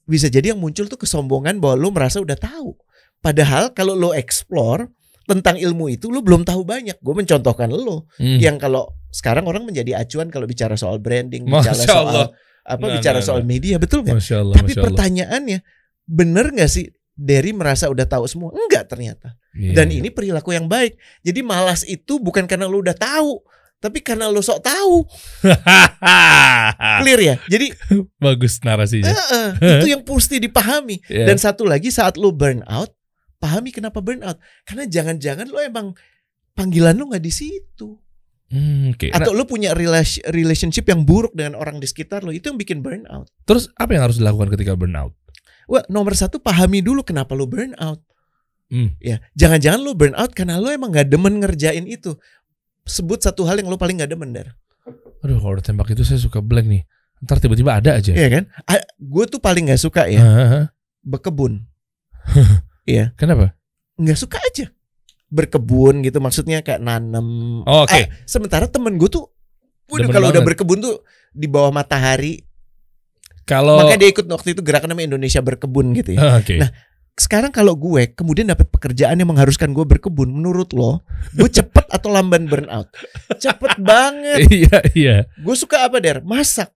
Speaker 1: bisa jadi yang muncul tuh kesombongan bahwa lo merasa udah tahu. Padahal kalau lo explore tentang ilmu itu lo belum tahu banyak. Gue mencontohkan lo.
Speaker 2: Hmm.
Speaker 1: yang kalau sekarang orang menjadi acuan kalau bicara soal branding,
Speaker 2: Masya
Speaker 1: bicara soal
Speaker 2: Allah.
Speaker 1: apa,
Speaker 2: Nah,
Speaker 1: bicara
Speaker 2: nah,
Speaker 1: soal media, betul nggak?
Speaker 2: Masya Allah,
Speaker 1: Tapi
Speaker 2: Masya Allah.
Speaker 1: pertanyaannya, bener nggak sih Derry merasa udah tahu semua? Enggak ternyata.
Speaker 2: Iya.
Speaker 1: Dan ini perilaku yang baik. Jadi malas itu bukan karena lu udah tahu, tapi karena lu sok tahu.
Speaker 2: Ah.
Speaker 1: Clear ya? Jadi
Speaker 2: Bagus narasinya.
Speaker 1: eh, eh, itu yang mesti dipahami.
Speaker 2: Iya.
Speaker 1: Dan satu lagi saat lu burn out, pahami kenapa burn out. Karena jangan-jangan lu emang panggilan lu nggak di situ.
Speaker 2: Hmm, oke. Nah,
Speaker 1: atau lu punya relas- relationship yang buruk dengan orang di sekitar lo itu yang bikin burnout.
Speaker 2: terus apa yang harus dilakukan ketika burnout?
Speaker 1: Wah, nomor satu pahami dulu kenapa lu burnout.
Speaker 2: Hmm.
Speaker 1: Ya, jangan-jangan lu burnout karena lu emang gak demen ngerjain itu. Sebut satu hal yang lu paling gak demen dar.
Speaker 2: Aduh, kalau tembak itu saya suka blank nih. Ntar tiba-tiba ada aja.
Speaker 1: Iya kan? Gue tuh paling gak suka ya
Speaker 2: Hah?
Speaker 1: berkebun.
Speaker 2: Kenapa?
Speaker 1: Gak suka aja berkebun gitu maksudnya kayak nanem.
Speaker 2: Oh, oke.
Speaker 1: Eh, sementara temen gue tuh, waduh
Speaker 2: Demen
Speaker 1: kalau udah
Speaker 2: banget.
Speaker 1: berkebun tuh di bawah matahari.
Speaker 2: Kalau
Speaker 1: Makanya dia ikut waktu itu gerakan namanya Indonesia berkebun gitu ya.
Speaker 2: Ah, oke.
Speaker 1: Nah, sekarang kalau gue kemudian dapat pekerjaan yang mengharuskan gue berkebun, menurut lo, gue cepet atau lamban burnout? Cepet banget.
Speaker 2: iya, iya.
Speaker 1: Gue suka apa der? Masak.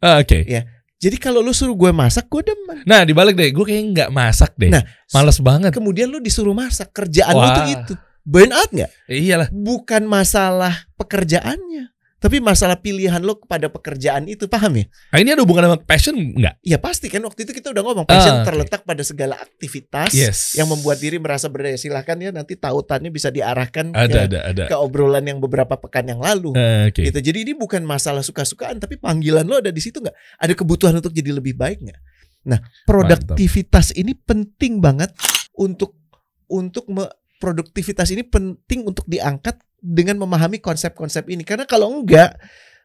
Speaker 2: Ah,
Speaker 1: Iya.
Speaker 2: oke.
Speaker 1: Jadi kalau lo suruh gue masak, gue demen.
Speaker 2: Nah, dibalik deh, gue kayaknya nggak masak deh.
Speaker 1: Nah,
Speaker 2: Males banget.
Speaker 1: Kemudian lo disuruh masak, kerjaan lo
Speaker 2: Wah.
Speaker 1: tuh itu. Burnout nggak?
Speaker 2: Eh, iyalah.
Speaker 1: Bukan masalah pekerjaannya, tapi masalah pilihan lo kepada pekerjaan itu, paham ya?
Speaker 2: Nah, ini ada hubungan sama passion nggak?
Speaker 1: Ya pasti kan waktu itu kita udah ngomong passion
Speaker 2: Ah, oke.
Speaker 1: terletak pada segala aktivitas
Speaker 2: Yes.
Speaker 1: yang membuat diri merasa berdaya. Silahkan ya nanti tautannya bisa diarahkan
Speaker 2: ada,
Speaker 1: ke
Speaker 2: ada, ada.
Speaker 1: ke obrolan yang beberapa pekan yang lalu.
Speaker 2: Eh, oke.
Speaker 1: ya. Gitu. Jadi ini bukan masalah suka-sukaan, tapi panggilan lo ada di situ nggak? Ada kebutuhan untuk jadi lebih baik nggak? Nah, produktivitas ini penting banget untuk untuk me- produktivitas ini penting untuk diangkat dengan memahami konsep-konsep ini. Karena kalau enggak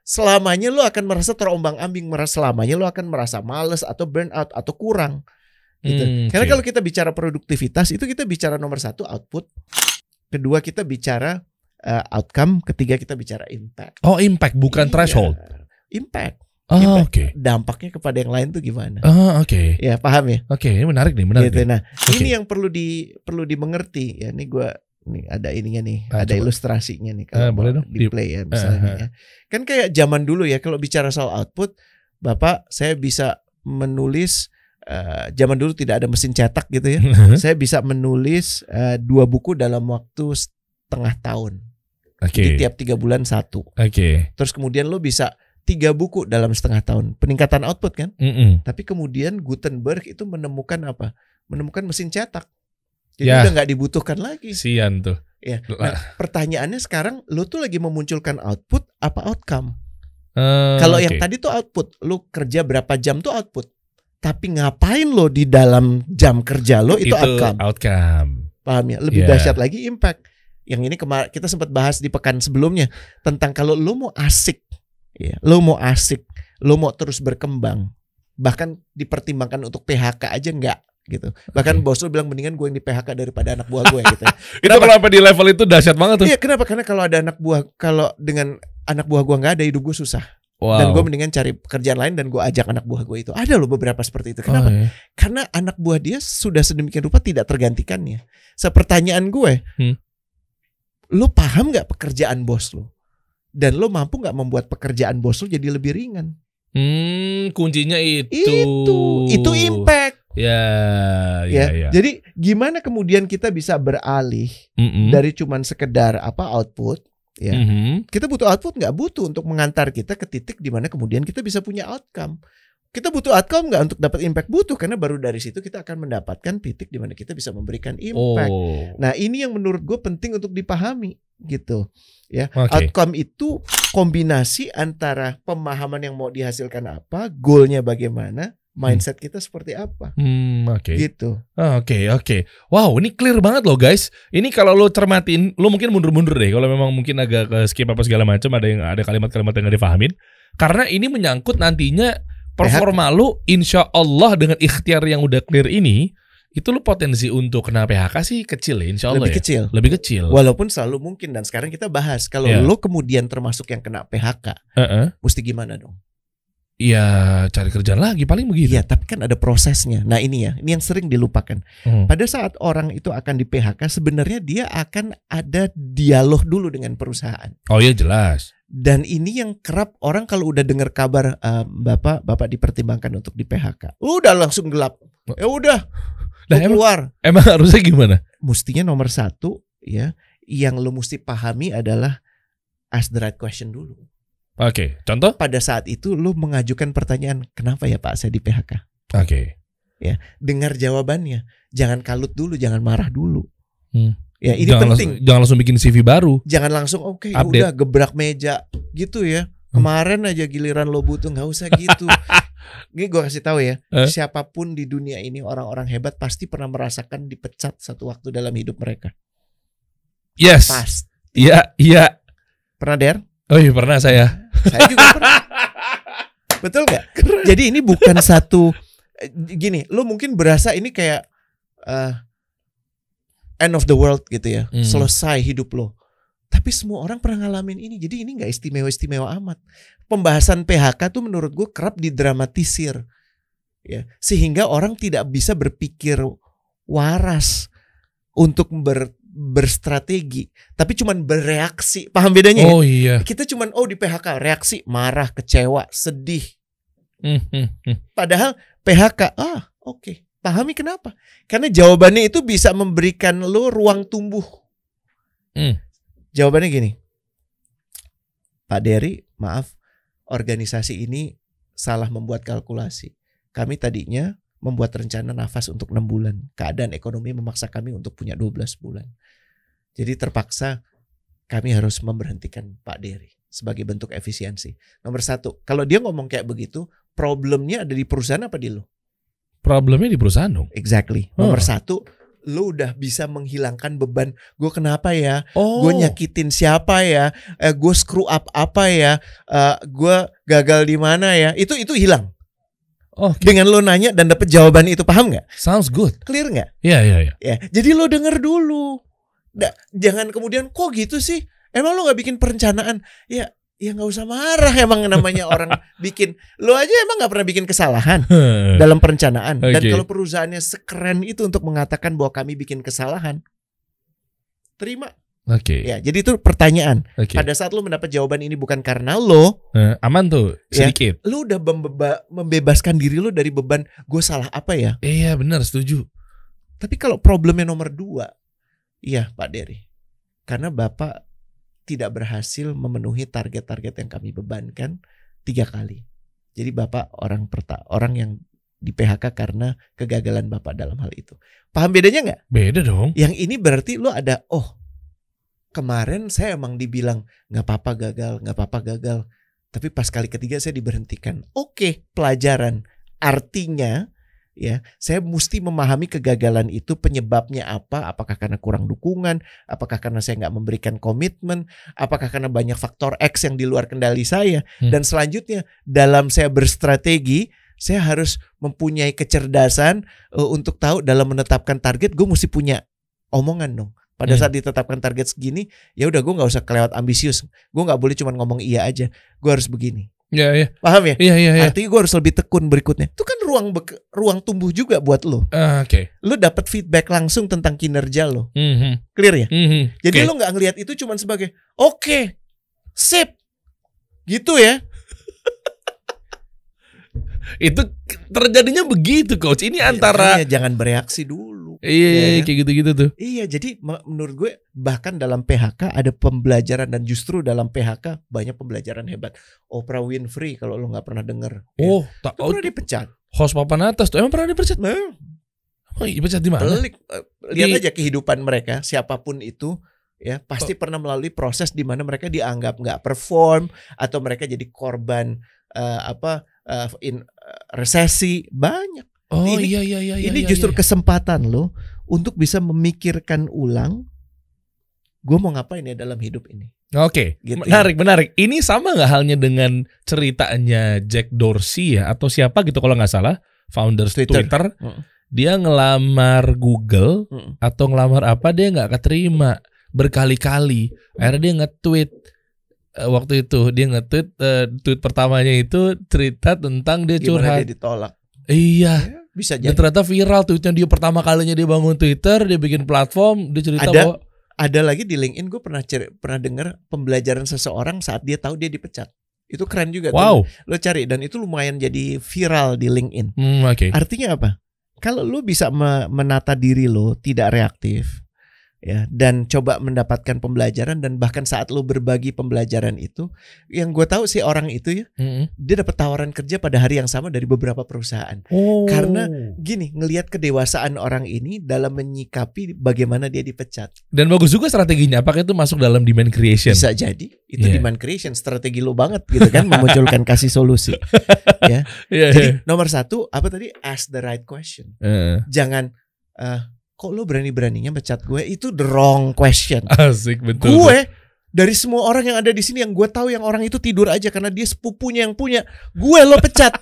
Speaker 1: selamanya lo akan merasa terombang-ambing, merasa selamanya lo akan merasa males atau burnout atau kurang. gitu.
Speaker 2: Hmm,
Speaker 1: Karena
Speaker 2: oke.
Speaker 1: kalau kita bicara produktivitas itu kita bicara nomor satu output, kedua kita bicara eh, outcome, ketiga kita bicara impact.
Speaker 2: oh impact bukan
Speaker 1: Iya.
Speaker 2: threshold.
Speaker 1: Impact.
Speaker 2: Oh,
Speaker 1: Impact.
Speaker 2: oke.
Speaker 1: Dampaknya kepada yang lain tuh gimana?
Speaker 2: Oh, oke.
Speaker 1: Ya paham ya.
Speaker 2: Oke, ini menarik nih, menarik.
Speaker 1: Gitu.
Speaker 2: nih.
Speaker 1: Nah
Speaker 2: Oke.
Speaker 1: ini yang perlu di perlu dimengerti ya. Ini gue nih ada ininya nih,
Speaker 2: Ah,
Speaker 1: ada
Speaker 2: coba.
Speaker 1: ilustrasinya nih
Speaker 2: Ah,
Speaker 1: kalau mau
Speaker 2: boleh dong.
Speaker 1: di
Speaker 2: Di-
Speaker 1: play ya misalnya.
Speaker 2: Ah, ah.
Speaker 1: ya. Kan kayak zaman dulu ya kalau bicara soal output, bapak saya bisa menulis. eh, zaman dulu tidak ada mesin cetak gitu ya.
Speaker 2: Hmm?
Speaker 1: saya bisa menulis eh, dua buku dalam waktu setengah tahun.
Speaker 2: Oke.
Speaker 1: Jadi tiap tiga bulan satu.
Speaker 2: Oke.
Speaker 1: Terus kemudian lo bisa tiga buku dalam setengah tahun. Peningkatan output kan?
Speaker 2: Mm-mm.
Speaker 1: Tapi kemudian Gutenberg itu menemukan apa? Menemukan mesin cetak. Jadi
Speaker 2: Ya.
Speaker 1: udah nggak dibutuhkan lagi.
Speaker 2: Sian tuh.
Speaker 1: Ya.
Speaker 2: Lah,
Speaker 1: Pertanyaannya sekarang lo tuh lagi memunculkan output apa outcome?
Speaker 2: eh,
Speaker 1: Kalau
Speaker 2: oke.
Speaker 1: yang tadi tuh output, lo kerja berapa jam tuh output. Tapi ngapain lo di dalam jam kerja lo oh, itu outcome?
Speaker 2: outcome.
Speaker 1: paham ya lebih
Speaker 2: Iya.
Speaker 1: dahsyat lagi impact yang ini kemarin kita sempat bahas di pekan sebelumnya tentang kalau lo mau asik ya lo mau asik lo mau terus berkembang bahkan dipertimbangkan untuk PHK aja enggak gitu bahkan
Speaker 2: Oke.
Speaker 1: bos lo bilang mendingan gue yang di PHK daripada anak buah gue gitu
Speaker 2: Itu kalau sampai di level itu dahsyat banget tuh.
Speaker 1: iya kenapa karena kalau ada anak buah kalau dengan anak buah gue nggak ada hidup gue susah
Speaker 2: Wow.
Speaker 1: dan gue mendingan cari pekerjaan lain dan gue ajak anak buah gue itu ada lo beberapa seperti itu kenapa
Speaker 2: Oh, iya.
Speaker 1: karena anak buah dia sudah sedemikian rupa tidak tergantikannya. Sepertanyaan gue,
Speaker 2: Hmm.
Speaker 1: lo paham nggak pekerjaan bos lo? Dan lo mampu nggak membuat pekerjaan bos lo jadi lebih ringan?
Speaker 2: Hmm, kuncinya itu.
Speaker 1: Itu, itu impact
Speaker 2: Ya, ya,
Speaker 1: ya.
Speaker 2: ya.
Speaker 1: Jadi gimana kemudian kita bisa beralih
Speaker 2: Mm-mm.
Speaker 1: dari cuman sekedar apa output? ya.
Speaker 2: Mhm.
Speaker 1: Kita butuh output nggak butuh untuk mengantar kita ke titik di mana kemudian kita bisa punya outcome. Kita butuh outcome nggak untuk dapat impact butuh karena baru dari situ kita akan mendapatkan titik di mana kita bisa memberikan impact.
Speaker 2: Oh.
Speaker 1: Nah ini yang menurut gue penting untuk dipahami gitu.
Speaker 2: Oke.
Speaker 1: Outcome itu kombinasi antara pemahaman yang mau dihasilkan apa, goalnya bagaimana, mindset kita seperti apa
Speaker 2: Hmm, oke.
Speaker 1: gitu.
Speaker 2: Ah, Oke, oke. Wow, ini clear banget loh guys. Ini kalau lo cermatin, lo mungkin mundur-mundur deh. Kalau memang mungkin agak ke skip apa segala macam, ada yang ada kalimat-kalimat yang gak dipahamin. Karena ini menyangkut nantinya performa lo, insya Allah dengan ikhtiar yang udah clear ini, itu lo potensi untuk kena PHK sih kecil ya, insya Allah
Speaker 1: Lebih
Speaker 2: ya.
Speaker 1: kecil.
Speaker 2: Lebih kecil.
Speaker 1: Walaupun selalu mungkin dan sekarang kita bahas kalau
Speaker 2: Iya.
Speaker 1: lo kemudian termasuk yang kena PHK,
Speaker 2: Heeh.
Speaker 1: mesti gimana dong?
Speaker 2: Iya, cari kerjaan lagi paling begitu.
Speaker 1: Iya, tapi kan ada prosesnya. Nah ini ya, ini yang sering dilupakan.
Speaker 2: Hmm.
Speaker 1: Pada saat orang itu akan di PHK, sebenarnya dia akan ada dialog dulu dengan perusahaan.
Speaker 2: Oh iya jelas.
Speaker 1: Dan ini yang kerap orang kalau udah dengar kabar eh, bapak bapak dipertimbangkan untuk di PHK, udah langsung gelap. Ya udah, lu
Speaker 2: Nah, emang,
Speaker 1: keluar.
Speaker 2: emang harusnya gimana?
Speaker 1: Mustinya nomor satu ya, yang lo mesti pahami adalah ask the right question dulu.
Speaker 2: Oke, contoh?
Speaker 1: Pada saat itu lo mengajukan pertanyaan, kenapa ya Pak saya di PHK?
Speaker 2: Oke.
Speaker 1: Dengar jawabannya, jangan kalut dulu, jangan marah dulu.
Speaker 2: Hmm.
Speaker 1: Ya ini
Speaker 2: jangan
Speaker 1: penting.
Speaker 2: Langsung, jangan langsung bikin CV baru.
Speaker 1: jangan langsung oke ya
Speaker 2: Update.
Speaker 1: udah gebrak meja gitu ya
Speaker 2: Hmm.
Speaker 1: kemarin aja giliran lo butuh nggak usah gitu ini gue kasih tahu ya
Speaker 2: Eh?
Speaker 1: siapapun di dunia ini orang-orang hebat pasti pernah merasakan dipecat satu waktu dalam hidup mereka
Speaker 2: Yes.
Speaker 1: pas
Speaker 2: Iya, iya.
Speaker 1: pernah der
Speaker 2: Oh iya pernah saya.
Speaker 1: saya juga pernah betul nggak jadi ini bukan satu eh, gini lo mungkin berasa ini kayak eh, end of the world gitu ya
Speaker 2: Hmm.
Speaker 1: selesai hidup lo tapi semua orang pernah ngalamin ini jadi ini nggak istimewa istimewa amat pembahasan PHK tuh menurut gue kerap didramatisir ya sehingga orang tidak bisa berpikir waras untuk ber- berstrategi tapi cuman bereaksi paham bedanya ya?
Speaker 2: Oh iya.
Speaker 1: kita cuman oh di PHK reaksi marah kecewa sedih
Speaker 2: Hmm, hmm, hmm.
Speaker 1: padahal PHK ah oke pahami kenapa karena jawabannya itu bisa memberikan lo ruang tumbuh
Speaker 2: Hmm.
Speaker 1: jawabannya gini Pak Dery maaf organisasi ini salah membuat kalkulasi kami tadinya membuat rencana nafas untuk enam bulan keadaan ekonomi memaksa kami untuk punya 12 bulan jadi terpaksa kami harus memberhentikan Pak Dery sebagai bentuk efisiensi. Nomor satu, kalau dia ngomong kayak begitu, problemnya ada di perusahaan apa di lo?
Speaker 2: Problemnya di perusahaan dong.
Speaker 1: Exactly.
Speaker 2: Huh.
Speaker 1: Nomor satu, lo udah bisa menghilangkan beban. Gue kenapa ya?
Speaker 2: Oh.
Speaker 1: Gue nyakitin siapa ya? Eh, gue screw up apa ya? Eh, gue gagal di mana ya? Itu itu hilang.
Speaker 2: Oh,
Speaker 1: Dengan lo nanya dan dapet jawaban itu paham nggak?
Speaker 2: sounds good.
Speaker 1: Clear nggak?
Speaker 2: Iya, iya, iya.
Speaker 1: Ya, jadi lo denger dulu. Da- jangan kemudian kok gitu sih. Emang lo nggak bikin perencanaan? Ya, ya nggak usah marah. Emang namanya orang bikin. Lo aja emang nggak pernah bikin kesalahan dalam perencanaan. Dan
Speaker 2: Eh. Oke.
Speaker 1: kalau perusahaannya sekeren itu untuk mengatakan bahwa kami bikin kesalahan, terima.
Speaker 2: Oke,
Speaker 1: Ya, jadi itu pertanyaan.
Speaker 2: oke.
Speaker 1: Pada saat lo mendapat jawaban ini bukan karena lo,
Speaker 2: Eh, Aman tuh
Speaker 1: Ya.
Speaker 2: sedikit.
Speaker 1: lo udah membeba- membebaskan diri lo dari beban gue salah apa ya.
Speaker 2: Iya, benar, setuju.
Speaker 1: Tapi kalau problemnya nomor dua, iya Pak Dery, karena Bapak tidak berhasil memenuhi target-target yang kami bebankan tiga kali. Jadi Bapak orang perta orang yang di PHK karena kegagalan Bapak dalam hal itu. Paham bedanya nggak?
Speaker 2: Beda dong.
Speaker 1: Yang ini berarti lu ada oh kemarin saya emang dibilang nggak apa-apa gagal, nggak apa-apa gagal. Tapi pas kali ketiga saya diberhentikan. Oke, pelajaran. Artinya ya, saya mesti memahami kegagalan itu penyebabnya apa? Apakah karena kurang dukungan? Apakah karena saya nggak memberikan komitmen? Apakah karena banyak faktor X yang di luar kendali saya?
Speaker 2: Hmm.
Speaker 1: Dan selanjutnya dalam saya berstrategi, saya harus mempunyai kecerdasan eh, untuk tahu dalam menetapkan target, gue mesti punya omongan dong. Pada
Speaker 2: Hmm.
Speaker 1: saat ditetapkan target segini, ya udah gue nggak usah kelewat ambisius. Gue nggak boleh cuma ngomong iya aja. Gue harus begini.
Speaker 2: Iya, iya.
Speaker 1: Paham ya?
Speaker 2: Iya, iya, iya.
Speaker 1: Artinya gue harus lebih tekun berikutnya. Itu kan ruang bek- ruang tumbuh juga buat lo.
Speaker 2: Ah, Oke.
Speaker 1: Lo dapat feedback langsung tentang kinerja lo.
Speaker 2: Mhm,
Speaker 1: Clear ya?
Speaker 2: mhm.
Speaker 1: Jadi
Speaker 2: Oke.
Speaker 1: lo nggak ngelihat itu cuma sebagai oke, sip, gitu ya.
Speaker 2: itu terjadinya begitu coach. Ini antara
Speaker 1: Makanya jangan bereaksi dulu.
Speaker 2: iya, iya,
Speaker 1: Iya,
Speaker 2: kayak gitu-gitu tuh.
Speaker 1: Iya, jadi me- menurut gue bahkan dalam PHK ada pembelajaran dan justru dalam PHK banyak pembelajaran hebat. Oprah Winfrey kalau lo nggak pernah denger. ya.
Speaker 2: Oh, tak
Speaker 1: Lo
Speaker 2: oh,
Speaker 1: pernah dipecat.
Speaker 2: host papan atas tuh emang pernah dipecat?
Speaker 1: Nah,
Speaker 2: Emang dipecat di mana?
Speaker 1: pelik. Eh, Lihat
Speaker 2: Di- Oh.
Speaker 1: aja kehidupan mereka siapapun itu ya pasti pernah melalui proses di mana mereka dianggap nggak perform atau mereka jadi korban eh, apa eh, in eh, resesi banyak.
Speaker 2: Oh,
Speaker 1: Ini-
Speaker 2: iya, iya, iya, iya.
Speaker 1: Ini
Speaker 2: iya,
Speaker 1: justru
Speaker 2: iya.
Speaker 1: kesempatan lo untuk bisa memikirkan ulang gue mau ngapain ya dalam hidup ini.
Speaker 2: Oke,
Speaker 1: Gitu ya.
Speaker 2: menarik, menarik. Ini sama nggak halnya dengan ceritanya Jack Dorsey ya atau siapa gitu kalau nggak salah, founder Twitter.
Speaker 1: Twitter. Mm.
Speaker 2: Dia ngelamar Google
Speaker 1: Mm.
Speaker 2: atau ngelamar apa dia nggak keterima berkali-kali. Akhirnya dia nge-tweet eh, waktu itu dia nge-tweet eh, tweet pertamanya itu cerita tentang dia
Speaker 1: Gimana
Speaker 2: curhat.
Speaker 1: dia ditolak?
Speaker 2: Iya,
Speaker 1: Bisa jadi.
Speaker 2: dan ternyata viral tweetnya dia pertama kalinya dia bangun Twitter, dia bikin platform, dia
Speaker 1: Ada.
Speaker 2: cerita bahwa
Speaker 1: Ada lagi di LinkedIn gue pernah cer- pernah dengar pembelajaran seseorang saat dia tahu dia dipecat. Itu keren juga.
Speaker 2: wow,
Speaker 1: tuh. Lo cari dan itu lumayan jadi viral di LinkedIn.
Speaker 2: Hmm, oke,
Speaker 1: Artinya apa? Kalau lo bisa me- menata diri lo tidak reaktif ya dan coba mendapatkan pembelajaran dan bahkan saat lo berbagi pembelajaran itu yang gue tahu sih orang itu ya
Speaker 2: Mm-mm.
Speaker 1: dia dapat tawaran kerja pada hari yang sama dari beberapa perusahaan.
Speaker 2: Oh.
Speaker 1: Karena- Gini, ngelihat kedewasaan orang ini dalam menyikapi bagaimana dia dipecat.
Speaker 2: dan bagus juga strateginya. Apakah itu masuk dalam demand creation?
Speaker 1: Bisa jadi itu
Speaker 2: Iya.
Speaker 1: demand creation strategi lo banget gitu kan memunculkan kasih solusi.
Speaker 2: Iya, iya.
Speaker 1: Jadi nomor satu apa tadi ask the right question.
Speaker 2: Heeh.
Speaker 1: Jangan eh, kok lo berani beraninya pecat gue itu the wrong question.
Speaker 2: Asik Ah, betul.
Speaker 1: gue dari semua orang yang ada di sini yang gue tahu yang orang itu tidur aja karena dia sepupunya yang punya gue lo pecat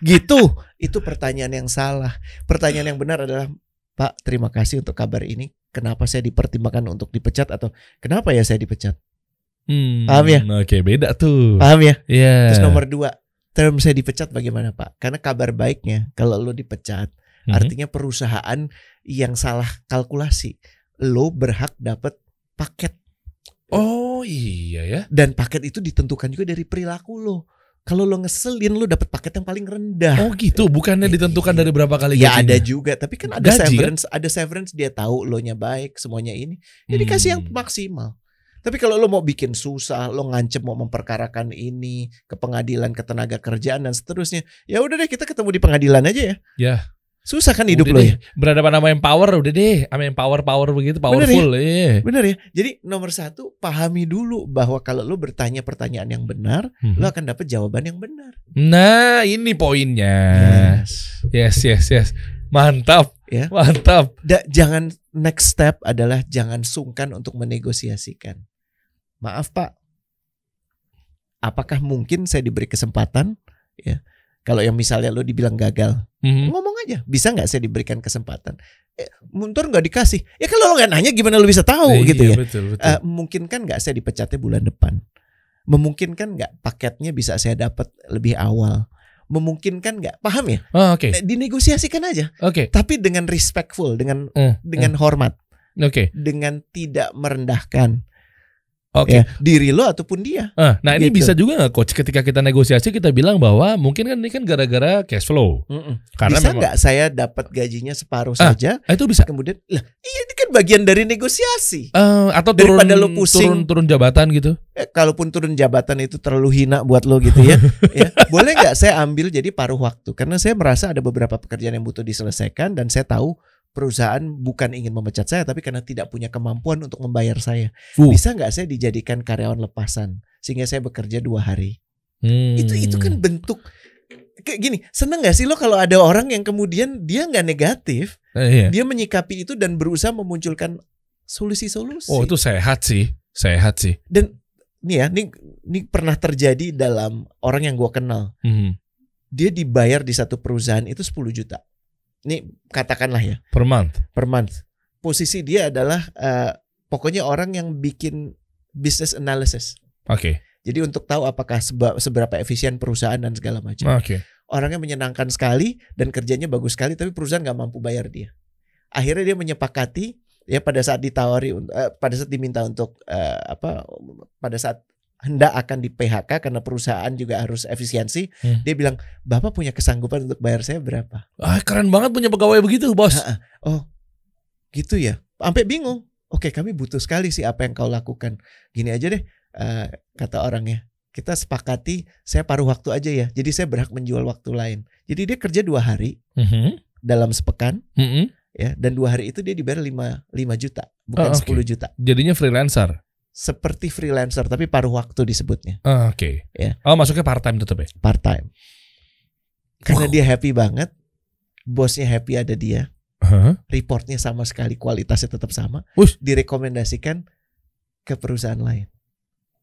Speaker 1: gitu itu pertanyaan yang salah pertanyaan yang benar adalah pak terima kasih untuk kabar ini kenapa saya dipertimbangkan untuk dipecat atau kenapa ya saya dipecat
Speaker 2: Hmm,
Speaker 1: Paham ya?
Speaker 2: Oke, beda tuh.
Speaker 1: paham ya
Speaker 2: Iya.
Speaker 1: terus nomor dua term saya dipecat bagaimana pak karena kabar baiknya kalau lo dipecat
Speaker 2: Mhm.
Speaker 1: artinya perusahaan yang salah kalkulasi lo berhak dapat paket
Speaker 2: Oh iya ya.
Speaker 1: dan paket itu ditentukan juga dari perilaku lo. Kalau lo ngeselin lo dapat paket yang paling rendah.
Speaker 2: Oh gitu, bukannya ditentukan dari berapa kali
Speaker 1: Iya, ya ada
Speaker 2: gajinya?
Speaker 1: juga, tapi kan ada
Speaker 2: Iya. Gaji, kan?
Speaker 1: severance, ada severance dia tahu lo nya baik semuanya ini. Ya dikasih yang
Speaker 2: Hmm.
Speaker 1: maksimal. Tapi kalau lo mau bikin susah, lo ngancem mau memperkarakan ini ke pengadilan, ke tenaga kerjaan dan seterusnya, ya udah deh kita ketemu di pengadilan aja ya.
Speaker 2: Ya.
Speaker 1: Susah kan hidup
Speaker 2: Udah
Speaker 1: lo
Speaker 2: deh,
Speaker 1: ya.
Speaker 2: Berhadapan sama yang power udah deh, sama yang power power begitu powerful. Iya.
Speaker 1: Bener ya. Jadi nomor satu pahami dulu bahwa kalau lo bertanya pertanyaan yang benar,
Speaker 2: Mhm.
Speaker 1: lo akan dapat jawaban yang benar.
Speaker 2: Nah, ini poinnya.
Speaker 1: Yes.
Speaker 2: Yes, yes, yes. Mantap.
Speaker 1: Ya.
Speaker 2: Mantap.
Speaker 1: Da- jangan next step adalah jangan sungkan untuk menegosiasikan. Maaf Pak, apakah mungkin saya diberi kesempatan ya Kalau yang misalnya lo dibilang gagal,
Speaker 2: Mhm.
Speaker 1: ngomong aja. Bisa nggak saya diberikan kesempatan? Eh, Muntur nggak dikasih. Ya kalau lo nggak nanya gimana lo bisa tahu
Speaker 2: Iya,
Speaker 1: gitu ya?
Speaker 2: Betul, betul.
Speaker 1: Eh, memungkinkan nggak saya dipecatnya bulan depan? Memungkinkan nggak paketnya bisa saya dapat lebih awal? Memungkinkan nggak? Paham ya?
Speaker 2: Oh, oke.
Speaker 1: Eh, Dinegosiasikan aja.
Speaker 2: Oke.
Speaker 1: Tapi dengan respectful, dengan
Speaker 2: Eh,
Speaker 1: dengan hormat,
Speaker 2: eh, Oke.
Speaker 1: dengan tidak merendahkan
Speaker 2: Oke.
Speaker 1: ya diri lo ataupun dia.
Speaker 2: Eh, Nah, ini
Speaker 1: Gitu.
Speaker 2: bisa juga nggak coach ketika kita negosiasi kita bilang bahwa mungkin kan ini kan gara-gara cash flow. Karena
Speaker 1: bisa
Speaker 2: memang
Speaker 1: nggak saya dapat gajinya separuh
Speaker 2: Ah.
Speaker 1: saja?
Speaker 2: Ah, itu bisa
Speaker 1: Kemudian, lah, iya ini kan bagian dari negosiasi.
Speaker 2: Eh, atau turun,
Speaker 1: Daripada lu pusing.
Speaker 2: turun turun jabatan gitu.
Speaker 1: Eh, kalaupun turun jabatan itu terlalu hina buat lo gitu ya. ya. Boleh nggak saya ambil jadi paruh waktu? Karena saya merasa ada beberapa pekerjaan yang butuh diselesaikan dan saya tahu perusahaan bukan ingin memecat saya tapi karena tidak punya kemampuan untuk membayar saya.
Speaker 2: Fuh.
Speaker 1: Bisa nggak saya dijadikan karyawan lepasan sehingga saya bekerja dua hari?
Speaker 2: Hmm.
Speaker 1: Itu itu kan bentuk kayak gini. Seneng nggak sih lo kalau ada orang yang kemudian dia nggak negatif,
Speaker 2: Eh, iya.
Speaker 1: dia menyikapi itu dan berusaha memunculkan solusi-solusi.
Speaker 2: Oh, itu sehat sih. Sehat sih.
Speaker 1: dan nih ya, ini ini pernah terjadi dalam orang yang gua kenal.
Speaker 2: Mhm.
Speaker 1: Dia dibayar di satu perusahaan itu 10 juta. Ini katakanlah ya,
Speaker 2: Per month.
Speaker 1: per month. Posisi dia adalah eh, pokoknya orang yang bikin business analysis.
Speaker 2: Oke.
Speaker 1: Jadi untuk tahu apakah seba- seberapa efisien perusahaan dan segala macam.
Speaker 2: Oke.
Speaker 1: Orangnya menyenangkan sekali dan kerjanya bagus sekali tapi perusahaan nggak mampu bayar dia. Akhirnya dia menyepakati ya pada saat ditawari un- eh, pada saat diminta untuk eh, apa pada saat hendak akan di PHK karena perusahaan juga harus efisiensi,
Speaker 2: Hmm.
Speaker 1: dia bilang, "Bapak punya kesanggupan untuk bayar saya berapa?"
Speaker 2: Ah, keren banget punya pegawai begitu, Bos.
Speaker 1: Ha-ha. Gitu ya. Sampai bingung. Oke, kami butuh sekali sih apa yang kau lakukan. Gini aja deh eh, kata orangnya. Kita sepakati saya paruh waktu aja ya. Jadi saya berhak menjual waktu lain. Jadi dia kerja dua hari
Speaker 2: Mhm.
Speaker 1: dalam sepekan
Speaker 2: Mhm.
Speaker 1: ya dan dua hari itu dia dibayar 5 5 juta bukan
Speaker 2: Oh, oke.
Speaker 1: 10 juta
Speaker 2: Jadinya freelancer.
Speaker 1: seperti freelancer tapi paruh waktu disebutnya
Speaker 2: Ah, Oke.
Speaker 1: Ya.
Speaker 2: Oh, masuknya part time tetap ya?
Speaker 1: part time karena
Speaker 2: Wow.
Speaker 1: dia happy banget bosnya happy ada dia
Speaker 2: Hah?
Speaker 1: reportnya sama sekali kualitasnya tetap sama
Speaker 2: Wih.
Speaker 1: direkomendasikan ke perusahaan lain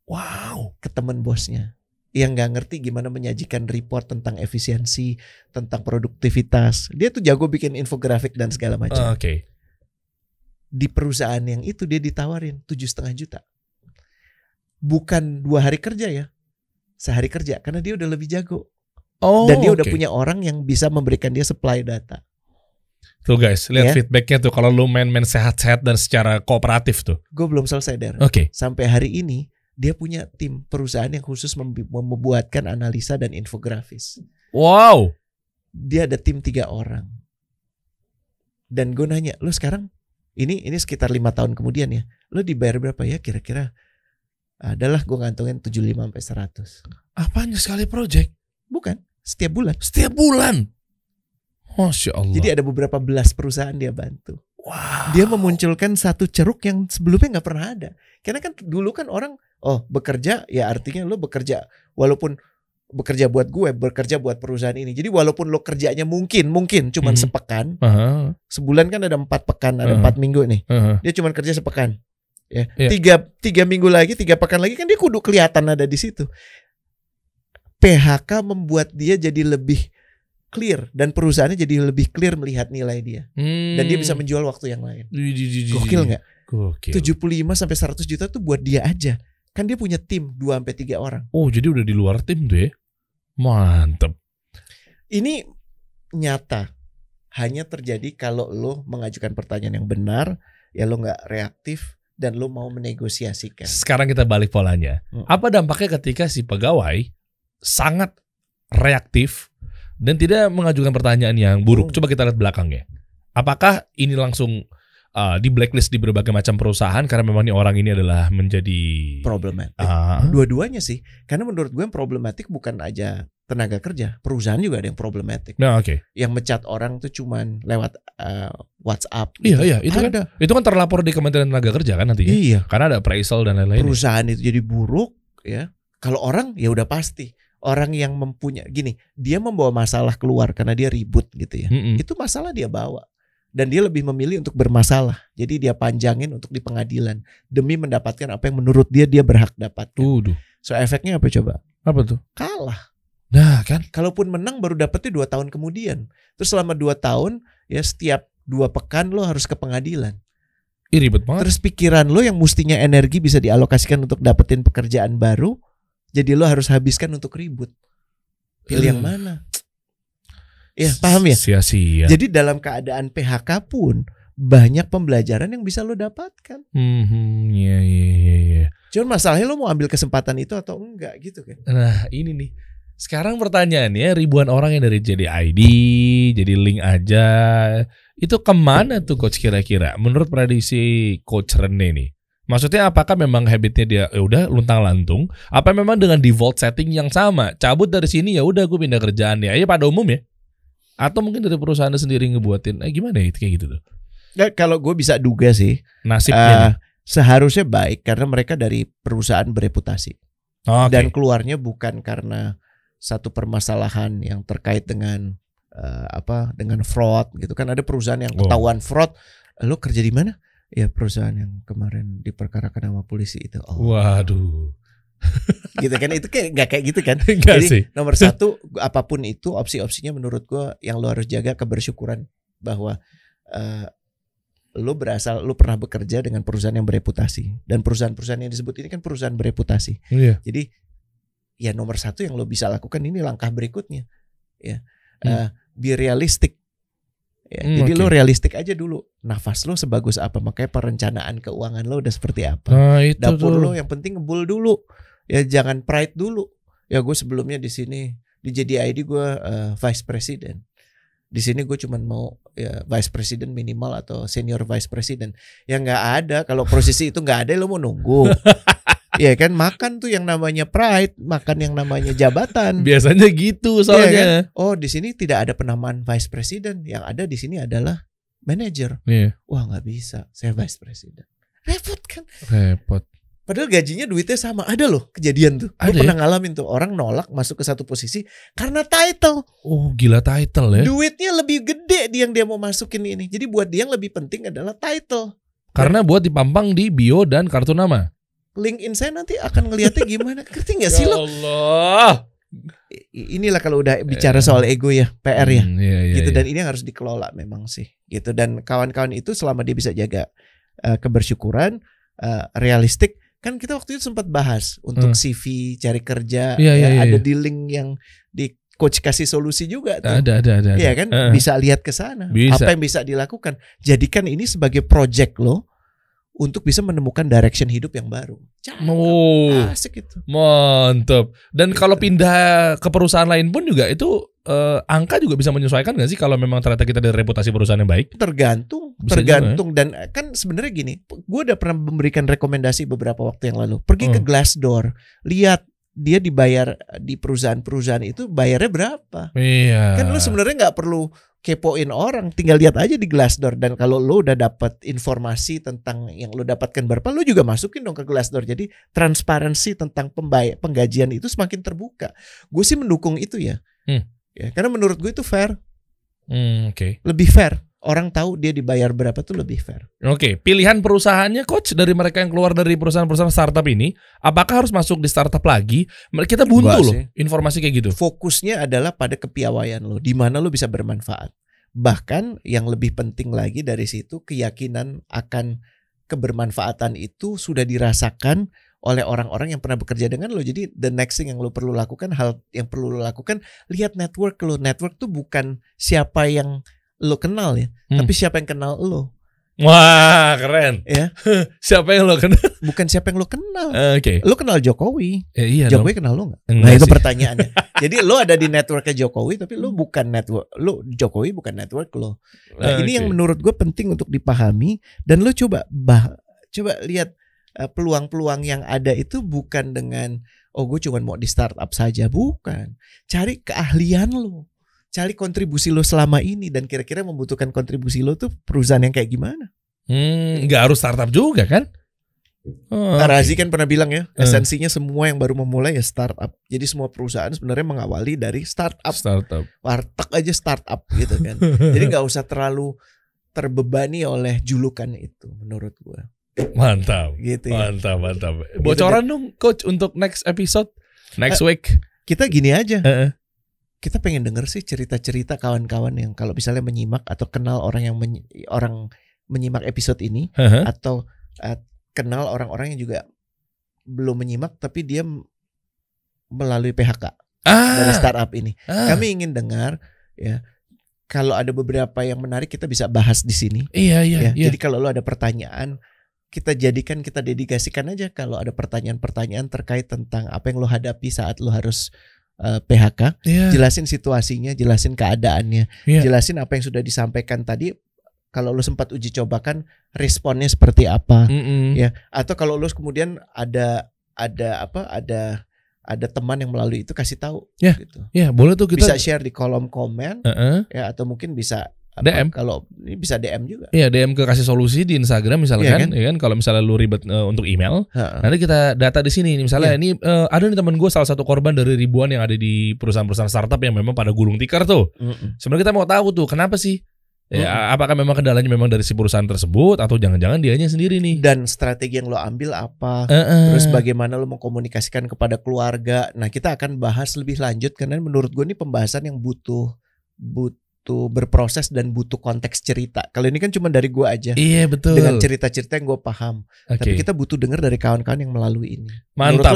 Speaker 2: Wow.
Speaker 1: ke teman bosnya yang nggak ngerti gimana menyajikan report tentang efisiensi tentang produktivitas dia tuh jago bikin infografik dan segala
Speaker 2: Ah,
Speaker 1: macam
Speaker 2: Oke.
Speaker 1: di perusahaan yang itu dia ditawarin tujuh setengah juta bukan dua hari kerja ya sehari kerja karena dia udah lebih jago
Speaker 2: Oh.
Speaker 1: dan dia udah
Speaker 2: oke.
Speaker 1: punya orang yang bisa memberikan dia supply data
Speaker 2: Tuh guys, lihat
Speaker 1: Ya.
Speaker 2: feedbacknya tuh kalau lu main-main sehat-sehat dan secara kooperatif tuh.
Speaker 1: gue belum selesai der
Speaker 2: Oke.
Speaker 1: sampai hari ini dia punya tim perusahaan yang khusus membi- membuatkan analisa dan infografis
Speaker 2: Wow.
Speaker 1: dia ada tim tiga orang dan gue nanya lu sekarang ini ini sekitar lima tahun kemudian ya lu dibayar berapa ya kira-kira adalah gue ngantongin 75 sampai 100
Speaker 2: Apanya sekali project?
Speaker 1: Bukan, setiap bulan.
Speaker 2: Setiap bulan. Masya Allah.
Speaker 1: Jadi ada beberapa belas perusahaan dia bantu.
Speaker 2: wow.
Speaker 1: Dia memunculkan satu ceruk yang sebelumnya nggak pernah ada. Karena kan dulu kan orang, oh bekerja ya artinya lo bekerja walaupun bekerja buat gue, bekerja buat perusahaan ini. Jadi walaupun lo kerjanya mungkin mungkin cuman
Speaker 2: Mhm.
Speaker 1: sepekan,
Speaker 2: Aha,
Speaker 1: sebulan kan ada empat pekan, ada
Speaker 2: Mhm.
Speaker 1: empat minggu nih.
Speaker 2: aha.
Speaker 1: Dia cuman kerja sepekan. Ya,
Speaker 2: Iya.
Speaker 1: tiga tiga minggu lagi, tiga pekan lagi kan dia kudu kelihatan ada di situ. PHK membuat dia jadi lebih clear dan perusahaannya jadi lebih clear melihat nilai dia
Speaker 2: Hmm.
Speaker 1: dan dia bisa menjual waktu yang lain.
Speaker 2: Di- di- di- di-
Speaker 1: Gokil nggak?
Speaker 2: Gokil.
Speaker 1: 75 sampai 100 juta tuh buat dia aja. Kan dia punya tim 2 sampai 3 orang.
Speaker 2: Oh, jadi udah di luar tim tuh ya. Mantep.
Speaker 1: Ini nyata. Hanya terjadi kalau lo mengajukan pertanyaan yang benar, ya lo nggak reaktif dan lo mau menegosiasikan.
Speaker 2: Sekarang kita balik polanya.
Speaker 1: Ya. Hmm.
Speaker 2: Apa dampaknya ketika si pegawai sangat reaktif dan tidak mengajukan pertanyaan yang buruk?
Speaker 1: Hmm.
Speaker 2: Coba kita lihat belakangnya. Apakah ini langsung uh, di blacklist di berbagai macam perusahaan karena memang ini orang ini adalah menjadi
Speaker 1: Problematik.
Speaker 2: Ah,
Speaker 1: Dua-duanya sih. Karena menurut gue yang problematik bukan aja tenaga kerja, perusahaan juga ada yang problematik.
Speaker 2: nah, oke.
Speaker 1: Yang mecat orang tuh cuman lewat eh, WhatsApp.
Speaker 2: Iya,
Speaker 1: gitu.
Speaker 2: iya, itu kan
Speaker 1: ada.
Speaker 2: itu kan terlapor di Kementerian Tenaga Kerja kan nantinya.
Speaker 1: Iya.
Speaker 2: Karena ada appraisal dan lain-lain. ya.
Speaker 1: perusahaan itu jadi buruk ya kalau orang ya udah pasti orang yang mempunyai gini dia membawa masalah keluar karena dia ribut gitu ya
Speaker 2: Mm-mm.
Speaker 1: itu masalah dia bawa dan dia lebih memilih untuk bermasalah jadi dia panjangin untuk di pengadilan demi
Speaker 2: Uh.
Speaker 1: mendapatkan apa yang menurut dia dia berhak dapatkan
Speaker 2: Waduh,
Speaker 1: so efeknya apa coba
Speaker 2: apa tuh?
Speaker 1: kalah
Speaker 2: Nah kan,
Speaker 1: Kalaupun menang baru dapetnya dua tahun kemudian. Terus selama dua tahun ya setiap dua pekan lo harus ke pengadilan.
Speaker 2: Ih, ribet banget.
Speaker 1: Terus pikiran lo yang mestinya energi bisa dialokasikan untuk dapetin pekerjaan baru, jadi lo harus habiskan untuk ribut. Pilih yang
Speaker 2: Eh.
Speaker 1: mana? Ya, paham ya?
Speaker 2: Sia-sia.
Speaker 1: Jadi dalam keadaan PHK pun banyak pembelajaran yang bisa lo dapatkan.
Speaker 2: Mhm, iya, iya, iya, iya.
Speaker 1: Cuman masalahnya lo mau ambil kesempatan itu atau enggak gitu kan.
Speaker 2: Nah ini nih. Sekarang pertanyaannya ribuan orang yang dari JDID, jadi link aja, itu kemana tuh coach kira-kira? Menurut prediksi coach Rene nih, maksudnya apakah memang habitnya dia ya udah luntang lantung? Apa memang dengan default setting yang sama? Cabut dari sini ya udah gue pindah kerjaan ya, ya pada umum ya? Atau mungkin dari perusahaan sendiri ngebuatin, eh gimana ya kayak gitu tuh?
Speaker 1: Ya, kalau gue bisa duga sih, eh,
Speaker 2: Nasibnya. nih.
Speaker 1: seharusnya baik karena mereka dari perusahaan bereputasi.
Speaker 2: Oke.
Speaker 1: dan keluarnya bukan karena satu permasalahan yang terkait dengan eh, apa dengan fraud gitu kan ada perusahaan yang
Speaker 2: Oh.
Speaker 1: ketahuan fraud lo kerja di mana ya perusahaan yang kemarin diperkarakan sama polisi itu oh
Speaker 2: Waduh.
Speaker 1: gitu kan itu kayak nggak kayak gitu kan
Speaker 2: Enggak
Speaker 1: Jadi,
Speaker 2: sih.
Speaker 1: nomor satu apapun itu opsi-opsinya menurut gua yang lo harus jaga kebersyukuran bahwa eh, lo berasal lo pernah bekerja dengan perusahaan yang bereputasi dan perusahaan-perusahaan yang disebut ini kan perusahaan bereputasi
Speaker 2: Iya.
Speaker 1: jadi ya nomor satu yang lo bisa lakukan ini langkah berikutnya, ya.
Speaker 2: Hmm.
Speaker 1: Eh, be realistik. Ya,
Speaker 2: Hmm,
Speaker 1: jadi
Speaker 2: oke.
Speaker 1: lo realistik aja dulu. Nafas lo sebagus apa? Makanya perencanaan keuangan lo udah seperti apa?
Speaker 2: Nah itu
Speaker 1: Dapur
Speaker 2: tuh.
Speaker 1: lo yang penting ngebul dulu. Ya jangan pride dulu. Ya gue sebelumnya di sini di JDID gue eh, vice president. Di sini gue cuman mau ya, vice president minimal atau senior vice president. Ya nggak ada kalau posisi itu nggak ada lo mau nunggu. ya kan makan tuh yang namanya pride, makan yang namanya jabatan.
Speaker 2: Biasanya gitu soalnya.
Speaker 1: Oh di sini tidak ada penamaan vice president. Yang ada di sini adalah manager.
Speaker 2: Iya.
Speaker 1: Wah nggak bisa, saya vice president. Repot kan?
Speaker 2: Repot.
Speaker 1: Padahal gajinya duitnya sama. Ada loh kejadian tuh. Gue
Speaker 2: Ada ya?
Speaker 1: pernah ngalamin tuh. Orang nolak masuk ke satu posisi karena title.
Speaker 2: Oh gila title ya.
Speaker 1: Duitnya lebih gede dia yang dia mau masukin ini. Jadi buat dia yang lebih penting adalah title.
Speaker 2: Karena buat dipampang di bio dan kartu nama.
Speaker 1: LinkedIn saya nanti akan ngelihatnya gimana. Ngerti gak Ya sih lo?
Speaker 2: Allah.
Speaker 1: I- Inilah kalau udah bicara
Speaker 2: Eh.
Speaker 1: soal ego ya. PR ya.
Speaker 2: Hmm, iya, iya,
Speaker 1: gitu
Speaker 2: iya.
Speaker 1: dan ini yang harus dikelola memang sih gitu dan kawan-kawan itu selama dia bisa jaga eh, kebersyukuran eh, realistik kan kita waktu itu sempat bahas untuk
Speaker 2: Hmm.
Speaker 1: CV cari kerja ya,
Speaker 2: Iya, iya, iya,
Speaker 1: ada
Speaker 2: iya.
Speaker 1: di link yang di coach kasih solusi juga tuh
Speaker 2: ada ada ada. ada.
Speaker 1: Iya kan
Speaker 2: Heeh.
Speaker 1: bisa lihat ke sana
Speaker 2: Bisa.
Speaker 1: apa yang bisa dilakukan jadikan ini sebagai project lo untuk bisa menemukan direction hidup yang baru Cakep.
Speaker 2: Oh,
Speaker 1: asik itu
Speaker 2: mantap. Dan kalau pindah ke perusahaan lain pun juga itu eh, angka juga bisa menyesuaikan nggak sih kalau memang ternyata kita dari reputasi perusahaan yang baik?
Speaker 1: tergantung
Speaker 2: Bisa
Speaker 1: tergantung dan eh, kan sebenarnya gini gue udah pernah memberikan rekomendasi beberapa waktu yang lalu pergi ke
Speaker 2: Hmm.
Speaker 1: Glassdoor lihat dia dibayar eh, di perusahaan-perusahaan itu bayarnya berapa
Speaker 2: Iya.
Speaker 1: kan lu sebenarnya nggak perlu kepoin orang tinggal lihat aja di Glassdoor dan kalau lu udah dapat informasi tentang yang lu dapatkan berapa lu juga masukin dong ke Glassdoor jadi transparansi tentang pembay- penggajian itu semakin terbuka gue sih mendukung itu ya
Speaker 2: Hmm.
Speaker 1: ya karena menurut gue itu fair
Speaker 2: Hmm, Oke.
Speaker 1: lebih fair. Orang tahu dia dibayar berapa tuh lebih fair.
Speaker 2: Oke. Pilihan perusahaannya coach dari mereka yang keluar dari perusahaan-perusahaan startup ini, apakah harus masuk di startup lagi? Kita buntu
Speaker 1: Enggak
Speaker 2: loh
Speaker 1: sih.
Speaker 2: informasi kayak gitu.
Speaker 1: Fokusnya adalah pada kepiawaian lo, di mana lo bisa bermanfaat. Bahkan yang lebih penting lagi dari situ keyakinan akan kebermanfaatan itu sudah dirasakan oleh orang-orang yang pernah bekerja dengan lo. Jadi the next thing yang lo perlu lakukan, hal yang perlu lo lakukan, lihat network lo. Network tuh bukan siapa yang lo kenal ya,
Speaker 2: Hmm.
Speaker 1: tapi siapa yang kenal lo.
Speaker 2: Wah, keren.
Speaker 1: Ya.
Speaker 2: Siapa yang lo kenal?
Speaker 1: Bukan siapa yang lo kenal.
Speaker 2: Oke.
Speaker 1: Lo kenal Jokowi,
Speaker 2: Eh, iya dong.
Speaker 1: Jokowi kenal lo nggak?
Speaker 2: Enggak
Speaker 1: Nah itu
Speaker 2: sih.
Speaker 1: pertanyaannya. Jadi lo ada di networknya Jokowi, tapi lo bukan network, lo Jokowi bukan network lo. Nah,
Speaker 2: Oke.
Speaker 1: Ini yang menurut gue penting untuk dipahami dan lo coba bah, coba lihat eh, peluang-peluang yang ada itu bukan dengan oh gue cuman mau di startup saja, bukan. Cari keahlian lo, cari kontribusi lo selama ini dan kira-kira membutuhkan kontribusi lo tuh perusahaan yang kayak gimana?
Speaker 2: Hmm, nggak harus startup juga kan? Oh,
Speaker 1: Nah,
Speaker 2: oke.
Speaker 1: Razi kan pernah bilang ya,
Speaker 2: Eh.
Speaker 1: esensinya semua yang baru memulai ya startup. Jadi semua perusahaan sebenarnya mengawali dari startup.
Speaker 2: startup.
Speaker 1: warteg aja startup gitu kan. Jadi nggak usah terlalu terbebani oleh julukan itu menurut gua.
Speaker 2: Mantap.
Speaker 1: Gitu ya.
Speaker 2: Mantap,
Speaker 1: Eh,
Speaker 2: mantap. Bocoran dong coach untuk next episode next week.
Speaker 1: Kita gini aja.
Speaker 2: Heeh.
Speaker 1: kita pengen denger sih cerita-cerita kawan-kawan yang kalau misalnya menyimak atau kenal orang yang menyi- orang menyimak episode ini
Speaker 2: Hehe.
Speaker 1: atau eh, kenal orang-orang yang juga belum menyimak tapi dia m- melalui PHK dari kan?
Speaker 2: ah,
Speaker 1: startup ini.
Speaker 2: ah.
Speaker 1: Kami ingin dengar ya kalau ada beberapa yang menarik kita bisa bahas di sini.
Speaker 2: Iya
Speaker 1: Ya,
Speaker 2: iya iya.
Speaker 1: Jadi kalau lo ada pertanyaan, kita jadikan kita dedikasikan aja kalau ada pertanyaan-pertanyaan terkait tentang apa yang lo hadapi saat lo harus eh, PHK,
Speaker 2: Iya.
Speaker 1: jelasin situasinya, jelasin keadaannya,
Speaker 2: Iya.
Speaker 1: jelasin apa yang sudah disampaikan tadi. Kalau lo sempat uji cobakan, responnya seperti apa?
Speaker 2: Mm-mm.
Speaker 1: Ya. Atau kalau lo kemudian ada ada apa? Ada ada teman yang melalui itu kasih tahu.
Speaker 2: Ya,
Speaker 1: Gitu.
Speaker 2: Iya, boleh tuh
Speaker 1: Bisa
Speaker 2: kita. Eh,
Speaker 1: share di kolom komen,
Speaker 2: Heeh.
Speaker 1: ya atau mungkin bisa apa,
Speaker 2: DM.
Speaker 1: Kalau ini bisa DM juga.
Speaker 2: Iya DM ke kasih solusi di Instagram misalkan,
Speaker 1: Iya kan?
Speaker 2: ya kan? Kalau misalnya lu ribet eh, untuk email,
Speaker 1: Heeh.
Speaker 2: Nah, nanti kita data di sini.
Speaker 1: Iya.
Speaker 2: Misalnya ini eh, ada nih teman gue salah satu korban dari ribuan yang ada di perusahaan-perusahaan startup yang memang pada gulung tikar tuh.
Speaker 1: Mm-mm.
Speaker 2: Sebenarnya kita mau tahu tuh kenapa sih? Ya,
Speaker 1: Hmm.
Speaker 2: apakah memang kendalanya memang dari si perusahaan tersebut atau jangan-jangan dianya sendiri nih?
Speaker 1: dan strategi yang lo ambil apa
Speaker 2: Heeh.
Speaker 1: terus bagaimana lo mengkomunikasikan kepada keluarga nah kita akan bahas lebih lanjut karena menurut gue ini pembahasan yang butuh butuh berproses dan butuh konteks cerita kalau ini kan cuma dari gue aja
Speaker 2: Iya betul.
Speaker 1: dengan cerita-cerita yang gue paham
Speaker 2: Oke.
Speaker 1: tapi kita butuh dengar dari kawan-kawan yang melalui ini
Speaker 2: Mantap.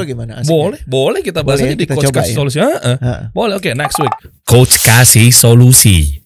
Speaker 1: menurut lo gimana Asik ya?
Speaker 2: Boleh, boleh kita bahas
Speaker 1: Boleh ya,
Speaker 2: aja di
Speaker 1: kita
Speaker 2: coach
Speaker 1: coba
Speaker 2: kasih
Speaker 1: ya.
Speaker 2: solusi. Heeh.
Speaker 1: Heeh.
Speaker 2: Boleh, oke next week. Coach kasih solusi.